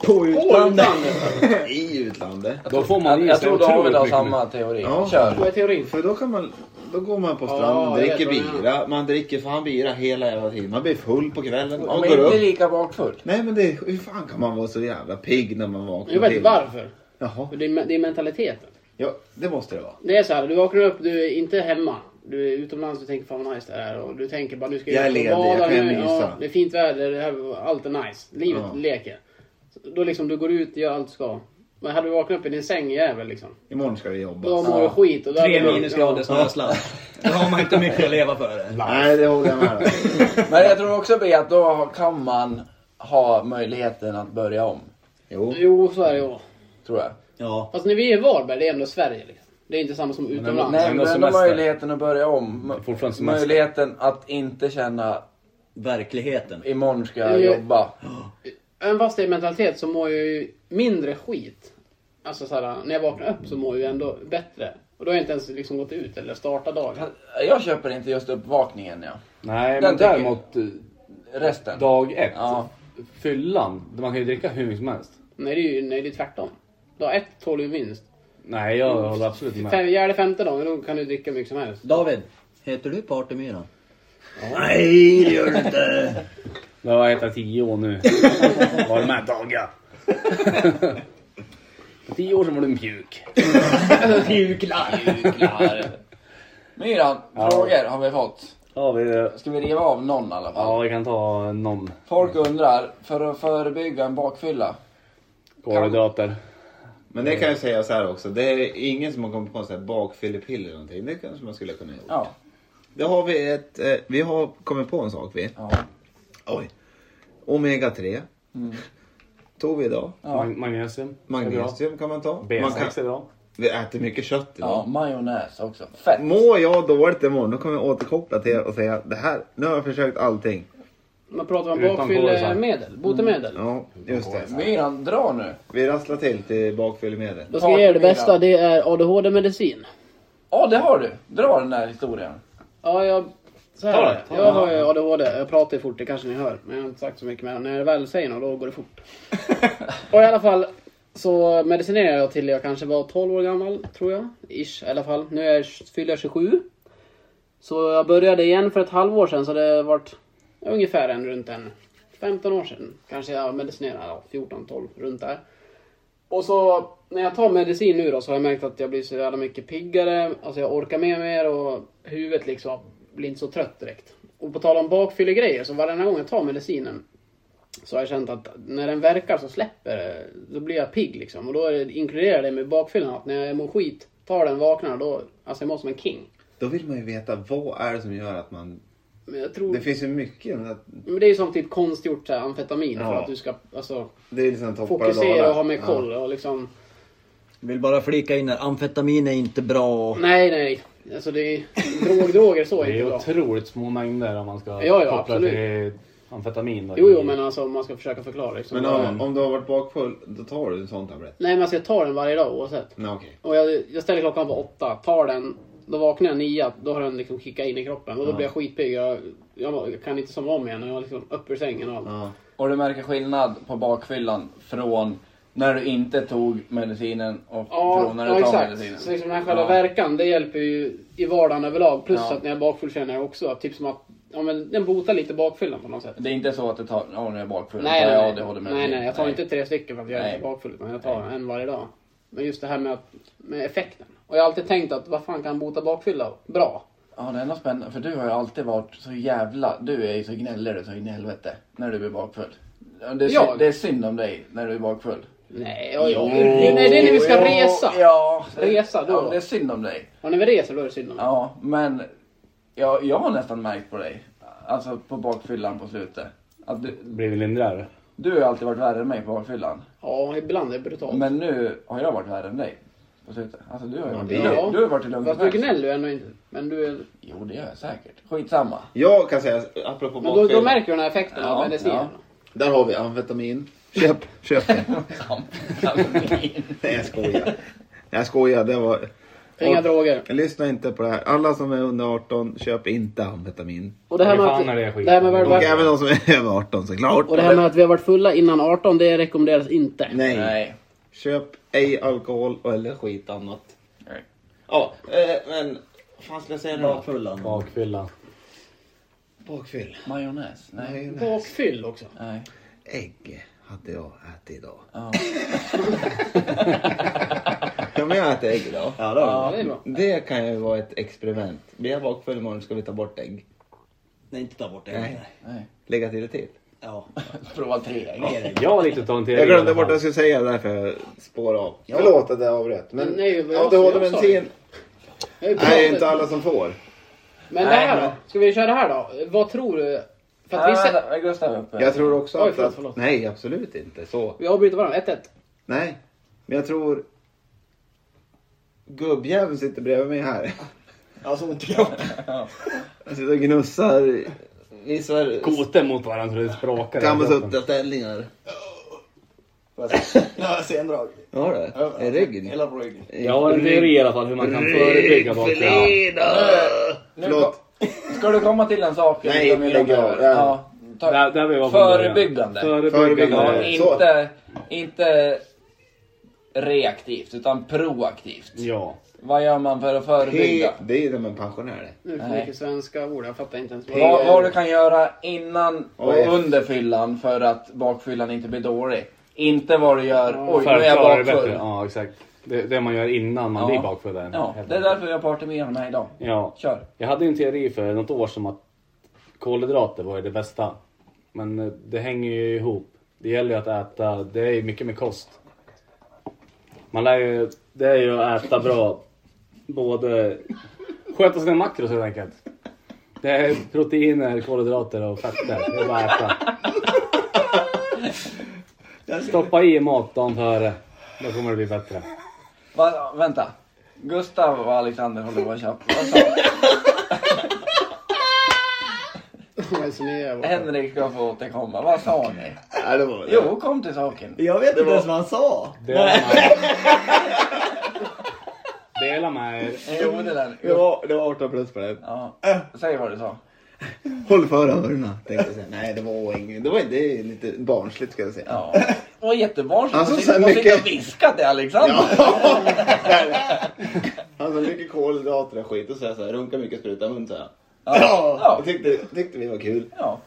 [SPEAKER 2] på utlandet.
[SPEAKER 3] I utlandet.
[SPEAKER 6] Då får man
[SPEAKER 1] Jag,
[SPEAKER 6] i
[SPEAKER 1] jag
[SPEAKER 6] sig
[SPEAKER 1] tror David
[SPEAKER 6] otroligt
[SPEAKER 1] har
[SPEAKER 6] mycket
[SPEAKER 1] samma teori.
[SPEAKER 3] Ja.
[SPEAKER 1] Kör!
[SPEAKER 4] Vad är teorin?
[SPEAKER 3] För då kan man... Då går man på stranden,
[SPEAKER 4] Ja, jag
[SPEAKER 3] dricker
[SPEAKER 4] vet vad du
[SPEAKER 3] bira. Man dricker fan bira hela jävla tiden. Man blir full på kvällen. Man
[SPEAKER 1] Om
[SPEAKER 3] går
[SPEAKER 1] inte
[SPEAKER 3] upp.
[SPEAKER 1] lika bakfull.
[SPEAKER 3] Nej men det, hur fan kan man vara så jävla pigg när man vaknar
[SPEAKER 4] Jag vet
[SPEAKER 3] till?
[SPEAKER 4] inte varför.
[SPEAKER 3] Jaha.
[SPEAKER 4] För det, är, me- det är mentaliteten.
[SPEAKER 3] Ja, det måste det vara.
[SPEAKER 4] Det är så här, du vaknar upp, du är inte hemma. Du är utomlands och tänker fan vad nice det här är. Och du tänker bara nu ska
[SPEAKER 3] Jag är
[SPEAKER 4] ut och
[SPEAKER 3] ledig, jag
[SPEAKER 4] bada
[SPEAKER 3] kan
[SPEAKER 4] nu.
[SPEAKER 3] mysa.
[SPEAKER 4] Ja, det är fint väder, det här, allt är nice. Livet
[SPEAKER 3] Ja.
[SPEAKER 4] leker. Så Då liksom du går ut, gör allt du ska. Men hade du vaknat upp i din säng jävel liksom.
[SPEAKER 3] Imorgon ska vi jobba.
[SPEAKER 4] Då mår du skit. Och då
[SPEAKER 2] Tre
[SPEAKER 4] hade du-
[SPEAKER 2] minusgrader snösladd. Då har man inte mycket att leva för.
[SPEAKER 3] Nej, det håller jag med om.
[SPEAKER 1] Men jag tror också B att då kan man ha möjligheten att börja om.
[SPEAKER 3] Jo.
[SPEAKER 4] Jo, så är det ju.
[SPEAKER 1] Tror jag.
[SPEAKER 2] Ja.
[SPEAKER 4] Fast när vi är i Varberg, det är ändå Sverige liksom. Det är inte samma som utomlands.
[SPEAKER 1] Nej,
[SPEAKER 6] ändå
[SPEAKER 1] men ändå
[SPEAKER 6] semester.
[SPEAKER 1] möjligheten att börja om. M-
[SPEAKER 6] Fortfarande semester.
[SPEAKER 1] Möjligheten att inte känna
[SPEAKER 2] Verkligheten.
[SPEAKER 1] imorgon ska
[SPEAKER 4] Jo,
[SPEAKER 1] jag
[SPEAKER 4] jo.
[SPEAKER 3] Eh.
[SPEAKER 1] jobba.
[SPEAKER 4] Även fast det är mentalitet så mår jag ju mindre skit. Alltså såhär, när jag vaknar upp så mår jag ju ändå bättre. Och då har jag inte ens liksom gått ut eller startat dagen.
[SPEAKER 1] Jag köper inte just uppvakningen ja.
[SPEAKER 6] Nej,
[SPEAKER 1] Den
[SPEAKER 6] men
[SPEAKER 1] tycker jag.
[SPEAKER 6] däremot eh,
[SPEAKER 1] Resten.
[SPEAKER 6] dag ett.
[SPEAKER 1] Ja.
[SPEAKER 6] Fyllan. Man kan ju dricka hur mycket som helst.
[SPEAKER 4] Nej, det är ju nej, det är tvärtom. Dag ett tål ju minst.
[SPEAKER 6] Nej, jag håller absolut med.
[SPEAKER 4] Fem, fjärde, femte dagen, då kan du dricka mycket som helst.
[SPEAKER 2] David, heter du Partymyran? Nej, det gör du inte.
[SPEAKER 6] Det har jag ätit tio år nu. Var det med dagar? För tio år sedan var du mjuk.
[SPEAKER 1] Myran,
[SPEAKER 6] Ja.
[SPEAKER 1] frågor har vi fått.
[SPEAKER 6] Ja,
[SPEAKER 3] eh,
[SPEAKER 6] vi,
[SPEAKER 1] Ska vi riva av någon i alla fall?
[SPEAKER 6] ja, vi kan ta någon
[SPEAKER 1] Folk undrar, för att förebygga en bakfylla.
[SPEAKER 6] kolhydrater.
[SPEAKER 3] Men det kan jag säga så här också. Det är ingen som har kommit på så här bakfyllepiller eller någonting. Det kanske man skulle kunna göra.
[SPEAKER 1] Ja.
[SPEAKER 3] Då har vi ett... Eh, vi har kommit på en sak vi.
[SPEAKER 1] ja.
[SPEAKER 3] Oj. Omega 3. Tog vi idag.
[SPEAKER 1] ja.
[SPEAKER 6] Mag- Magnesium.
[SPEAKER 3] Magnesium kan man ta.
[SPEAKER 6] B6
[SPEAKER 3] Man kan,
[SPEAKER 6] är bra.
[SPEAKER 3] vi äter mycket kött idag.
[SPEAKER 1] ja majonnäs också. Fett.
[SPEAKER 3] Mår jag dåligt imorgon då kommer jag återkoppla till er och säga det här, nu har jag försökt allting.
[SPEAKER 4] Man pratar om
[SPEAKER 6] Utan
[SPEAKER 4] bakfyllemedel, botemedel.
[SPEAKER 3] Ja, just det.
[SPEAKER 1] Myran, dra nu.
[SPEAKER 3] Vi rasslar till till bakfyllemedel.
[SPEAKER 4] Då ska jag ge er det bästa, det är ADHD-medicin.
[SPEAKER 1] Ja, det har du. Dra den där historien.
[SPEAKER 4] Ja, jag... Så här,
[SPEAKER 6] Ta
[SPEAKER 4] är
[SPEAKER 6] det,
[SPEAKER 4] det.
[SPEAKER 6] ta
[SPEAKER 4] jag har ju ADHD, jag pratar ju fort, det kanske ni hör. Men jag har inte sagt så mycket mer. När jag väl säger något, då går det fort. och i alla fall så medicinerade jag till jag kanske var 12 år gammal, tror jag. Ish, i alla fall. Nu är jag, fyller jag 27. Så jag började igen för ett halvår sedan, så det har varit ungefär en, runt en 15 år sedan. Kanske jag medicinerade, ja, 14, 12, runt där. Och så när jag tar medicin nu då så har jag märkt att jag blir så jävla mycket piggare. Alltså jag orkar med mer och huvudet liksom blir inte så trött direkt. Och på tal om bakfyllegrejer så varenda gång jag tar medicinen så har jag känt att när den verkar så släpper det. Då blir jag pigg liksom. Och då är det- inkluderar det med bakfyllan att när jag mår skit, tar den, vaknar, då... Alltså jag mår som en king.
[SPEAKER 3] Då vill man ju veta vad är det som gör att man...
[SPEAKER 4] Men jag tror...
[SPEAKER 3] Det finns ju mycket. i den här-
[SPEAKER 4] men det är ju som typ konstgjort så här, amfetamin för
[SPEAKER 3] Ja.
[SPEAKER 4] att du ska alltså,
[SPEAKER 3] Det är liksom toppar
[SPEAKER 4] fokusera
[SPEAKER 3] dalar.
[SPEAKER 4] och ha mer
[SPEAKER 3] Ja.
[SPEAKER 4] koll. Och liksom,
[SPEAKER 2] Vill bara flika in här, amfetamin är inte bra. och-
[SPEAKER 4] nej, nej. Alltså det är drogdroger så är
[SPEAKER 6] Det
[SPEAKER 4] inte
[SPEAKER 6] är
[SPEAKER 4] bra.
[SPEAKER 6] otroligt små mängder om man ska
[SPEAKER 4] Ja, ja,
[SPEAKER 6] koppla
[SPEAKER 4] absolut.
[SPEAKER 6] till amfetamin. då.
[SPEAKER 4] Jo, jo, men alltså om man ska försöka förklara liksom.
[SPEAKER 3] Men om, om du har varit bakfull, då tar du en sån tablett?
[SPEAKER 4] Nej, men alltså jag tar den varje dag oavsett.
[SPEAKER 3] Nej, okej.
[SPEAKER 4] Och jag, jag ställer klockan på åtta, tar den, då vaknar jag nio, då har den liksom kickat in i kroppen. Och då blir jag skitpigg. Jag, jag kan inte somna om igen och jag är liksom upp ur sängen och allt.
[SPEAKER 3] Ja.
[SPEAKER 1] Och du märker skillnad på bakfyllan från när du inte tog medicinen och
[SPEAKER 4] Ja,
[SPEAKER 1] från när du
[SPEAKER 4] ja
[SPEAKER 1] tar
[SPEAKER 4] exakt.
[SPEAKER 1] medicinen.
[SPEAKER 4] Så liksom den här själva
[SPEAKER 1] Ja.
[SPEAKER 4] verkan, det hjälper ju i vardagen överlag. Plus
[SPEAKER 1] Ja.
[SPEAKER 4] att när jag är bakfull känner jag också att typ som att, ja men den botar lite bakfyllan på något sätt.
[SPEAKER 1] Det är inte så att du tar, ja nu är jag bakfull,
[SPEAKER 4] Nej,
[SPEAKER 1] tar jag
[SPEAKER 4] nej, nej.
[SPEAKER 1] ADHD-medicin.
[SPEAKER 4] nej, nej, jag tar inte tre stycken för att jag är
[SPEAKER 1] Nej.
[SPEAKER 4] inte bakfull utan jag tar en varje dag. Men just det här med, att, med effekten. Och jag har alltid tänkt att vad fan kan bota bakfylla bra?
[SPEAKER 1] Ja, det är ändå spännande, för du har ju alltid varit så jävla... Du är ju så gnällig du så in i helvete när du blir bakfull. Ja, Det är,
[SPEAKER 4] Jag?
[SPEAKER 1] synd, det är synd om dig när du är bakfull.
[SPEAKER 4] Nej, oj, oj. nej det är när vi ska
[SPEAKER 1] Jo,
[SPEAKER 4] resa.
[SPEAKER 1] Ja,
[SPEAKER 4] Resa då.
[SPEAKER 1] Ja, det är synd om dig.
[SPEAKER 4] Och när vi reser då är det synd om
[SPEAKER 1] Ja, men jag, jag har nästan märkt på dig, alltså på bakfyllan på slutet, att du,
[SPEAKER 6] Blir vi lindrare?
[SPEAKER 1] du har ju alltid varit värre än mig på bakfyllan.
[SPEAKER 4] Ja, ibland är det brutalt.
[SPEAKER 1] Men nu har jag varit värre än dig på slutet. Alltså du har ju varit,
[SPEAKER 4] Ja.
[SPEAKER 1] du, du har ju varit i lugn och
[SPEAKER 4] Fast du
[SPEAKER 1] skärpa.
[SPEAKER 4] gnäller ju ändå inte. Men, du, är-
[SPEAKER 1] Jo, det gör jag säkert. Skitsamma.
[SPEAKER 3] Jag kan säga, apropå
[SPEAKER 4] men då,
[SPEAKER 3] bakfylla.
[SPEAKER 4] då märker du den här effekten
[SPEAKER 1] Ja,
[SPEAKER 4] av medicinen.
[SPEAKER 3] Där har vi amfetamin. Köp, köp det. Nej, jag skojar. Jag skojar, det var...
[SPEAKER 4] Inga
[SPEAKER 3] Och-
[SPEAKER 4] droger.
[SPEAKER 3] Lyssna inte på det här. Alla som är under 18, köp inte amfetamin.
[SPEAKER 4] Och det här
[SPEAKER 6] Fy
[SPEAKER 4] med
[SPEAKER 6] fan
[SPEAKER 4] att,
[SPEAKER 6] är det skit.
[SPEAKER 4] det här med
[SPEAKER 3] Och
[SPEAKER 4] att,
[SPEAKER 3] även de som är över 18 såklart.
[SPEAKER 4] och det här med att vi har varit fulla innan 18, det rekommenderas inte.
[SPEAKER 3] Nej.
[SPEAKER 1] Nej.
[SPEAKER 3] Köp ej alkohol eller skit annat.
[SPEAKER 1] Nej.
[SPEAKER 3] Ja, eh, men... Vad fan ska jag säga nu då?
[SPEAKER 2] Bakfyllan.
[SPEAKER 6] Bakfylla.
[SPEAKER 3] Mm. Bakfyll.
[SPEAKER 1] Majonnäs? Nej.
[SPEAKER 3] Nej, nej.
[SPEAKER 4] Bakfyll också.
[SPEAKER 1] Nej.
[SPEAKER 3] Ägg hade jag ätit idag.
[SPEAKER 1] Ja.
[SPEAKER 3] Ja, men jag äter ägg idag.
[SPEAKER 2] Ja, då.
[SPEAKER 4] Ja, det är bra.
[SPEAKER 3] Det kan ju vara ett experiment. Blir jag bakfull imorgon ska vi ta bort ägg.
[SPEAKER 2] Nej, inte ta bort det.
[SPEAKER 3] Nej.
[SPEAKER 2] Nej.
[SPEAKER 1] Nej.
[SPEAKER 3] Lägga till det till.
[SPEAKER 2] Ja.
[SPEAKER 1] Prova tre grejer.
[SPEAKER 6] Jag har lite att ta en teori.
[SPEAKER 3] Jag glömde
[SPEAKER 6] i alla
[SPEAKER 3] bort
[SPEAKER 6] fall.
[SPEAKER 3] vad jag skulle säga därför jag spårade av. Förlåt att jag avbröt. Men
[SPEAKER 4] Nej, vad jag sa,
[SPEAKER 3] ADHD-medicin
[SPEAKER 4] Jag är
[SPEAKER 3] är inte alla som får.
[SPEAKER 4] Men det här då? Ska vi köra det här då? Vad tror du? För att vi,
[SPEAKER 1] Ah,
[SPEAKER 4] sä-
[SPEAKER 1] där är Gustav uppe.
[SPEAKER 3] Jag tror också
[SPEAKER 4] Oj,
[SPEAKER 3] att...
[SPEAKER 4] förlåt, förlåt.
[SPEAKER 3] Nej, absolut inte så.
[SPEAKER 4] vi avbryter varandra. 1-1.
[SPEAKER 3] Nej, men jag tror... Gubbjäveln sitter bredvid mig här.
[SPEAKER 2] Ja, som en kropp.
[SPEAKER 3] Han sitter och gnussar. Visar
[SPEAKER 6] Koten mot varandra så det sprakar. i kroppen.
[SPEAKER 3] kamasuttaställningar.
[SPEAKER 2] Några sendrag.
[SPEAKER 3] Har du? I ryggen?
[SPEAKER 2] Hela på ryggen.
[SPEAKER 6] Jag har en teori i alla fall hur man kan förebygga bakfylla.
[SPEAKER 1] Nu
[SPEAKER 3] Förlåt.
[SPEAKER 1] kom- Ska du komma till en sak?
[SPEAKER 3] Nej,
[SPEAKER 1] Gustav,
[SPEAKER 3] lägg
[SPEAKER 1] innan-
[SPEAKER 3] av.
[SPEAKER 1] Ja, ta-
[SPEAKER 6] Där, där vi var från början.
[SPEAKER 1] Förebyggande. Ja,
[SPEAKER 6] Förebyggande.
[SPEAKER 3] Förebyggande. Så.
[SPEAKER 1] inte, inte reaktivt, utan proaktivt.
[SPEAKER 6] Ja.
[SPEAKER 1] Vad gör man för att förebygga?
[SPEAKER 3] He- Det är som en pensionär det.
[SPEAKER 4] Nu är det för
[SPEAKER 1] Nej.
[SPEAKER 4] mycket svenska ord. Jag fattar inte ens vad
[SPEAKER 1] Vad, vad du kan göra innan och
[SPEAKER 3] Oj.
[SPEAKER 1] under fyllan för att bakfyllan inte blir dålig. Inte vad du gör,
[SPEAKER 4] Ja.
[SPEAKER 1] oj nu
[SPEAKER 6] För
[SPEAKER 1] är
[SPEAKER 6] att
[SPEAKER 1] jag
[SPEAKER 6] klara det
[SPEAKER 1] bakfull.
[SPEAKER 6] bättre. Ja, exakt. Det, det man gör innan man
[SPEAKER 1] Ja.
[SPEAKER 6] blir bakfull. är-
[SPEAKER 1] Ja, det är därför jag partar med honom här idag.
[SPEAKER 6] Ja.
[SPEAKER 1] Kör.
[SPEAKER 6] Jag hade ju en teori för något år som att kolhydrater var ju det bästa. Men eh, det hänger ju ihop. Det gäller ju att äta, det är ju mycket med kost. Man lär ju, det är ju att äta bra. Både, sköta sina makros helt enkelt. Det är proteiner, kolhydrater och fetter. Det är bara att äta. Stoppa i mat dagen före. Då kommer det bli bättre.
[SPEAKER 1] Va, vänta. Gustav och Alexander håller på att tjafsa. Vad sa du?
[SPEAKER 4] jag resonerar.
[SPEAKER 1] Henrik ska få återkomma. Vad sa ni?
[SPEAKER 3] Nej, det var det.
[SPEAKER 1] Jo, kom till saken.
[SPEAKER 2] Jag vet inte ens vad han sa.
[SPEAKER 6] Dela med er. Dela med er.
[SPEAKER 1] Jo, det där.
[SPEAKER 3] Det var, det var 18 plus på det.
[SPEAKER 1] Ja. Säg vad du sa.
[SPEAKER 3] Håll för öronen tänkte jag säga. Nej, det var inget. Det var inte det är lite barnsligt ska jag säga.
[SPEAKER 1] Ja. Det var jättebarnsligt.
[SPEAKER 3] Alltså,
[SPEAKER 1] Hon sitter-
[SPEAKER 3] så
[SPEAKER 1] hon sitter
[SPEAKER 3] mycket-
[SPEAKER 1] och viskar till Alexander.
[SPEAKER 3] Han sa mycket kolhydrater och skit och så jag så här, runka mycket spruta i mun så jag.
[SPEAKER 1] Ja.
[SPEAKER 3] Jag tyckte, tyckte vi var kul.
[SPEAKER 1] Ja.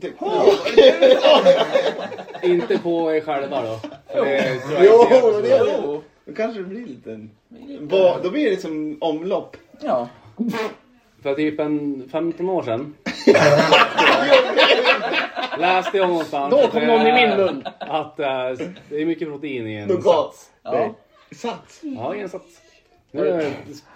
[SPEAKER 3] Tyckte vi var kul.
[SPEAKER 6] Inte på er själva då. För det tror jag
[SPEAKER 3] Jo,
[SPEAKER 6] inte gör
[SPEAKER 3] men
[SPEAKER 6] så
[SPEAKER 3] det är
[SPEAKER 6] bra.
[SPEAKER 3] det. Då kanske det blir lite... en- Va, då blir det liksom omlopp.
[SPEAKER 1] Ja.
[SPEAKER 6] För typ en 15 år sedan. läste jag någonstans.
[SPEAKER 4] Då kom
[SPEAKER 6] att,
[SPEAKER 4] någon i
[SPEAKER 6] eh,
[SPEAKER 4] min mun.
[SPEAKER 6] Att eh, det är mycket protein i en sats.
[SPEAKER 3] Nougat.
[SPEAKER 1] Ja.
[SPEAKER 3] Sats.
[SPEAKER 6] Ja, i en sats. Nu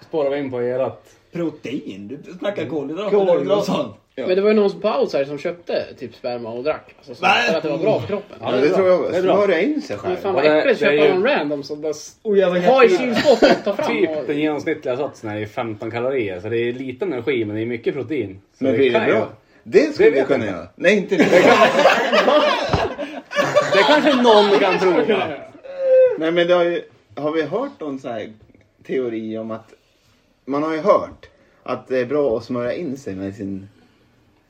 [SPEAKER 6] spårar vi in på erat.
[SPEAKER 2] Protein? Du snackar
[SPEAKER 3] Kolhydrater.
[SPEAKER 2] kolhydrater och sånt.
[SPEAKER 4] Men det var ju någon paus här som köpte typ sperma och drack. Alltså, så,
[SPEAKER 2] Nej.
[SPEAKER 4] för att det var bra för kroppen.
[SPEAKER 6] Ja,
[SPEAKER 3] Ja, det
[SPEAKER 6] bra.
[SPEAKER 3] tror jag.
[SPEAKER 6] Det är bra.
[SPEAKER 3] Smörja in sig
[SPEAKER 4] Men
[SPEAKER 3] själv.
[SPEAKER 4] fan vad
[SPEAKER 6] Och det-
[SPEAKER 4] äckligt
[SPEAKER 6] det är
[SPEAKER 4] köpa
[SPEAKER 6] ju-
[SPEAKER 4] någon random som bara s-
[SPEAKER 2] Oh, jag var
[SPEAKER 4] ha i
[SPEAKER 2] jätte-
[SPEAKER 4] kylskåpet och ta fram.
[SPEAKER 6] Typ den
[SPEAKER 4] och...
[SPEAKER 6] genomsnittliga satsen är ju 15 kalorier. Så det är liten energi men det är mycket protein. Så
[SPEAKER 3] Men blir det
[SPEAKER 6] kan ju-
[SPEAKER 3] bra? Det skulle
[SPEAKER 6] Det
[SPEAKER 3] vi
[SPEAKER 6] vet
[SPEAKER 3] kunna
[SPEAKER 6] jag
[SPEAKER 3] göra. Nej, inte det.
[SPEAKER 6] Det kanske någon kan tro.
[SPEAKER 3] Nej, men det har, ju, har vi hört någon så här teori om att... Man har ju hört att det är bra att smörja in sig med sin...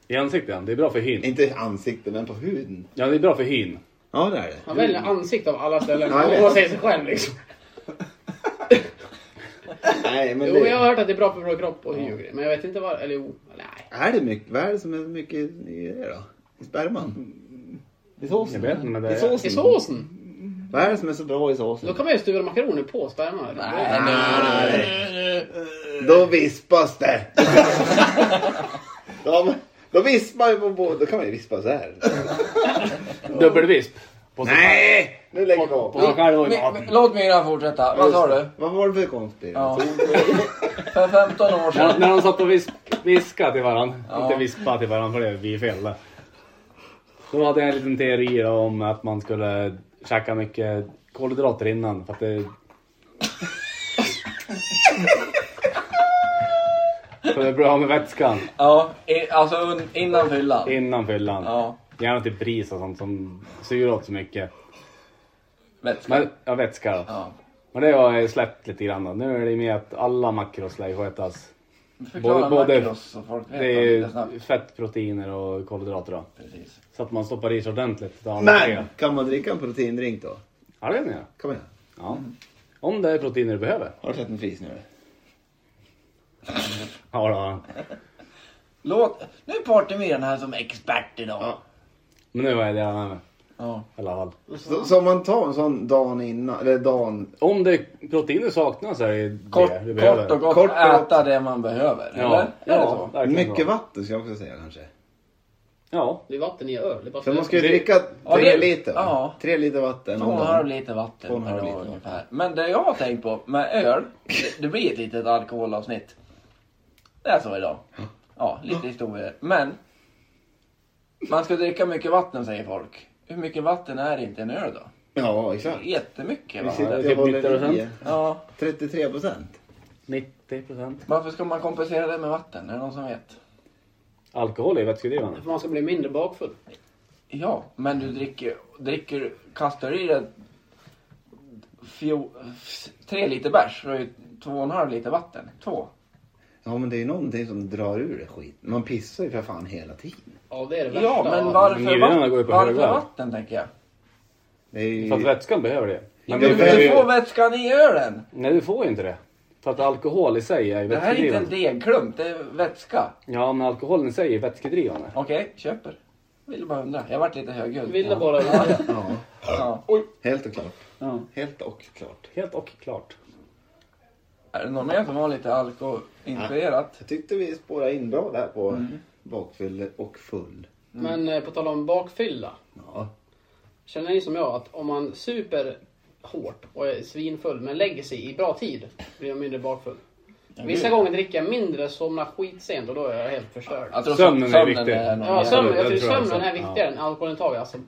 [SPEAKER 6] I ansiktet, det är bra för hyn.
[SPEAKER 3] Inte ansikte, men på huden.
[SPEAKER 6] Ja, det är bra för hyn.
[SPEAKER 3] Ja, det är det.
[SPEAKER 4] Han väljer ansikte av alla ställen.
[SPEAKER 3] Ja, jag vet.
[SPEAKER 4] Om man säger sig själv liksom.
[SPEAKER 3] Nej, men
[SPEAKER 4] Jo, jag har
[SPEAKER 3] det...
[SPEAKER 4] hört att det är bra för vår kropp och hy och grejer. Men jag vet inte vad... Eller jo, nej.
[SPEAKER 3] Är det mycket? Vad är det som är mycket i det då? I sperman? I såsen?
[SPEAKER 6] Jag vet inte, men det
[SPEAKER 3] I
[SPEAKER 6] är...
[SPEAKER 4] I
[SPEAKER 3] såsen?
[SPEAKER 4] såsen?
[SPEAKER 3] Vad är det som är så bra i
[SPEAKER 4] Då
[SPEAKER 3] såsen?
[SPEAKER 4] kan man ju stuva makaroner på sperman.
[SPEAKER 1] Nej, nu-
[SPEAKER 3] Nej. Då vispas det. De, då vispar ju på båda. Då kan man ju vispa så här.
[SPEAKER 6] Dubbelvisp. På sig själv.
[SPEAKER 3] Nej! Nu lägger vi
[SPEAKER 6] På
[SPEAKER 3] av.
[SPEAKER 6] sig själv och i
[SPEAKER 1] Men-
[SPEAKER 6] maten.
[SPEAKER 1] men Låt mig innan fortsätta. Vad sa du?
[SPEAKER 3] Vad var det för konstigt?
[SPEAKER 1] Ja. För 15 år
[SPEAKER 6] När,
[SPEAKER 1] sedan.
[SPEAKER 6] när de satt och vis, viskade till varandra.
[SPEAKER 1] Ja.
[SPEAKER 6] Inte vispa till varandra för det blir fel där. Då hade jag en liten teori då om att man skulle käka mycket kolhydrater innan för att det... För det är bra med vätskan
[SPEAKER 1] Ja, i, alltså un, innan fyllan.
[SPEAKER 6] innan fyllan.
[SPEAKER 1] Ja,
[SPEAKER 6] Gärna typ ris och sånt som suger åt så mycket.
[SPEAKER 1] vätska.
[SPEAKER 6] Men, ja, vätska då.
[SPEAKER 1] Ja.
[SPEAKER 6] Men det har jag släppt lite grann då. Nu är det med att alla makros lär ju skötas.
[SPEAKER 1] Förklara
[SPEAKER 6] Både- både-
[SPEAKER 1] makros så folk vet
[SPEAKER 6] Det
[SPEAKER 1] det
[SPEAKER 6] är
[SPEAKER 1] lite snabbt.
[SPEAKER 6] fett, proteiner och kolhydrater då.
[SPEAKER 1] Precis.
[SPEAKER 6] Så att man stoppar i sig ordentligt. Då har man det.
[SPEAKER 3] Men kan man dricka en proteindrink då?
[SPEAKER 6] Ja, det vet jag.
[SPEAKER 3] Kom igen.
[SPEAKER 6] Ja. Om det är proteiner du behöver.
[SPEAKER 3] Har du sett en fis nu?
[SPEAKER 6] Ja, då.
[SPEAKER 1] Låt, nu är Partemyren här som expert idag.
[SPEAKER 3] Ja.
[SPEAKER 6] Men nu har jag det med mig.
[SPEAKER 1] Ja.
[SPEAKER 6] I alla fall.
[SPEAKER 3] Så, så om man tar en sån dagen innan, eller dagen...
[SPEAKER 6] Om det proteiner saknas så är det det
[SPEAKER 1] Kort,
[SPEAKER 6] du behöver.
[SPEAKER 1] kort och gott
[SPEAKER 3] Kort och
[SPEAKER 1] äta det man behöver.
[SPEAKER 6] Ja,
[SPEAKER 1] Eller?
[SPEAKER 6] ja
[SPEAKER 1] Är det så?
[SPEAKER 6] verkligen
[SPEAKER 3] Mycket
[SPEAKER 6] bra.
[SPEAKER 3] vatten ska jag också säga kanske.
[SPEAKER 6] Ja.
[SPEAKER 4] Det är vatten i öl. Det är bara
[SPEAKER 3] För man ska ju
[SPEAKER 6] Det-
[SPEAKER 3] dricka
[SPEAKER 1] Ja,
[SPEAKER 3] tre
[SPEAKER 1] det-
[SPEAKER 3] liter va?
[SPEAKER 1] ja.
[SPEAKER 3] Tre liter vatten
[SPEAKER 1] Två och
[SPEAKER 3] om
[SPEAKER 1] en halv
[SPEAKER 3] dagen.
[SPEAKER 1] liter
[SPEAKER 3] Två och
[SPEAKER 1] vatten
[SPEAKER 3] en
[SPEAKER 1] per
[SPEAKER 3] halv
[SPEAKER 1] dag
[SPEAKER 3] liter.
[SPEAKER 1] ungefär. Men det jag har tänkt på med öl, det, det blir ett litet alkoholavsnitt. Det är så idag. Ja, lite historier. Men, man ska dricka mycket vatten säger folk. Hur mycket vatten är inte en öl då?
[SPEAKER 3] Ja, exakt.
[SPEAKER 1] Jättemycket
[SPEAKER 3] Vi
[SPEAKER 1] va?
[SPEAKER 3] sitter
[SPEAKER 6] det är typ
[SPEAKER 3] och håller
[SPEAKER 6] 90%.
[SPEAKER 3] i.
[SPEAKER 1] Ja,
[SPEAKER 3] 33 procent.
[SPEAKER 6] 90 procent.
[SPEAKER 1] varför ska man kompensera det med vatten? Är det någon som vet?
[SPEAKER 6] Alkohol är vätskedrivande.
[SPEAKER 4] För man ska bli mindre bakfull.
[SPEAKER 1] Ja, men du dricker, dricker kastar i dig fjo, tre liter bärs, så är det två och en halv liter vatten. Två.
[SPEAKER 3] Ja, men det är ju någonting som drar ur det skit. Man pissar ju för fan hela tiden.
[SPEAKER 4] Ja, det är det värsta.
[SPEAKER 1] Ja, men
[SPEAKER 6] men
[SPEAKER 1] varför,
[SPEAKER 6] njurarna går ju
[SPEAKER 1] vatten,
[SPEAKER 6] på
[SPEAKER 1] varför
[SPEAKER 6] högvarv.
[SPEAKER 1] vatten tänker jag?
[SPEAKER 3] Det är ju...
[SPEAKER 6] För att vätskan behöver det. Men
[SPEAKER 1] Du,
[SPEAKER 6] du behöver
[SPEAKER 1] du får
[SPEAKER 6] ju...
[SPEAKER 1] vätskan i ölen!
[SPEAKER 6] Nej, du får ju inte det. För att alkohol i sig är ju
[SPEAKER 1] Det här är inte en
[SPEAKER 6] vätskedrivande.
[SPEAKER 1] degklump, det är vätska.
[SPEAKER 6] Ja, men alkoholen i sig är vätskedrivande.
[SPEAKER 1] Okej, köper. Ville bara undra. Jag vart lite högljudd.
[SPEAKER 4] Ville
[SPEAKER 1] Ja. Mm.
[SPEAKER 4] bara...
[SPEAKER 3] Ja,
[SPEAKER 1] Ja.
[SPEAKER 3] helt och klart.
[SPEAKER 1] Ja.
[SPEAKER 3] Helt och klart.
[SPEAKER 6] Helt och klart.
[SPEAKER 1] Är det någon mer som har lite alkoholinfluerat?
[SPEAKER 3] Jag tyckte vi spårade in bra där på
[SPEAKER 6] Mm.
[SPEAKER 3] bakfyller och full.
[SPEAKER 4] Men eh, på tal om bakfylla.
[SPEAKER 3] Ja.
[SPEAKER 4] Känner ni som jag att om man super hårt och är svinfull men lägger sig i bra tid blir jag mindre bakfull. Vissa gånger dricker jag mindre, somnar skitsent och då är jag helt förstörd.
[SPEAKER 1] Jag tror
[SPEAKER 6] Sömnen är viktig.
[SPEAKER 1] Alltså, någon jävla-
[SPEAKER 4] Ja, sömn,
[SPEAKER 6] det
[SPEAKER 4] jag tror
[SPEAKER 6] tror jag
[SPEAKER 4] sömnen
[SPEAKER 6] också.
[SPEAKER 4] är viktigare än alkoholintag. Alltså,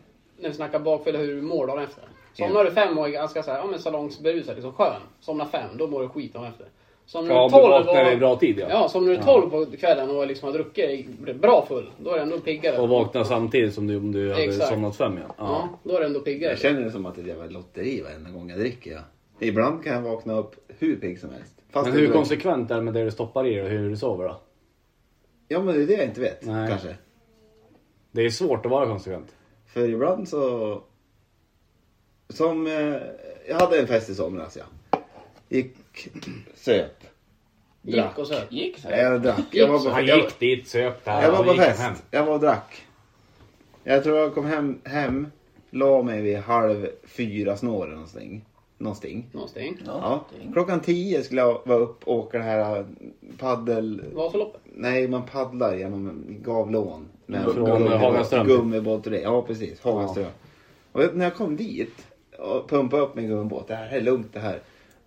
[SPEAKER 4] när vi snackar bakfylla, hur du mår dagen efter. Somnar du fem och är ganska så här, ja, men salongsberusad, liksom skön. Somnar fem, då mår du skit dagen efter. Somnar
[SPEAKER 6] Ja,
[SPEAKER 4] du
[SPEAKER 6] du
[SPEAKER 4] tolv
[SPEAKER 6] vaknar i
[SPEAKER 4] och...
[SPEAKER 6] bra tid ja.
[SPEAKER 4] Ja, somnar du tolv på kvällen och liksom har druckit bra full, då är du ändå piggare.
[SPEAKER 6] Och vaknar samtidigt som du, om du hade
[SPEAKER 4] Exakt.
[SPEAKER 6] somnat fem igen.
[SPEAKER 4] Ja,
[SPEAKER 6] Ja.
[SPEAKER 4] då är du ändå piggare.
[SPEAKER 3] Jag känner det som att det är ett jävla lotteri varenda gång jag dricker. Ja. Ibland kan jag vakna upp hur pigg som helst. Fast
[SPEAKER 6] Men hur
[SPEAKER 3] ibland-
[SPEAKER 6] konsekvent är det med det du stoppar i dig och hur du sover då?
[SPEAKER 3] Ja, men det är det jag inte vet.
[SPEAKER 6] Nej.
[SPEAKER 3] Kanske.
[SPEAKER 6] Det är svårt att vara konsekvent.
[SPEAKER 3] För ibland så... Som... Eh, jag hade en fest i somras, ja. Gick... Söp.
[SPEAKER 4] Gick och söp.
[SPEAKER 1] Gick så?
[SPEAKER 3] Nej, Jag drack. Jag var
[SPEAKER 4] så
[SPEAKER 3] på,
[SPEAKER 6] Han
[SPEAKER 3] jag,
[SPEAKER 6] gick dit, söp där
[SPEAKER 3] jag var
[SPEAKER 6] och
[SPEAKER 3] på
[SPEAKER 6] gick hem.
[SPEAKER 3] fest. Jag var och drack. Jag tror jag kom hem, hem la mig vid halv fyra snåren någonting. någonting.
[SPEAKER 4] Någonting.
[SPEAKER 3] Ja.
[SPEAKER 1] Någonting.
[SPEAKER 3] Klockan tio skulle jag vara upp och åka det här eh, paddel...
[SPEAKER 4] Vasaloppet.
[SPEAKER 3] Nej, man paddlar genom Gavlån. Med
[SPEAKER 6] Från
[SPEAKER 3] gummibå-
[SPEAKER 6] Hagaström.
[SPEAKER 3] Gummibåt och det. Ja, precis. Hagaström. Och när jag kom dit och pumpade upp min gummibåt. Det här är lugnt det här.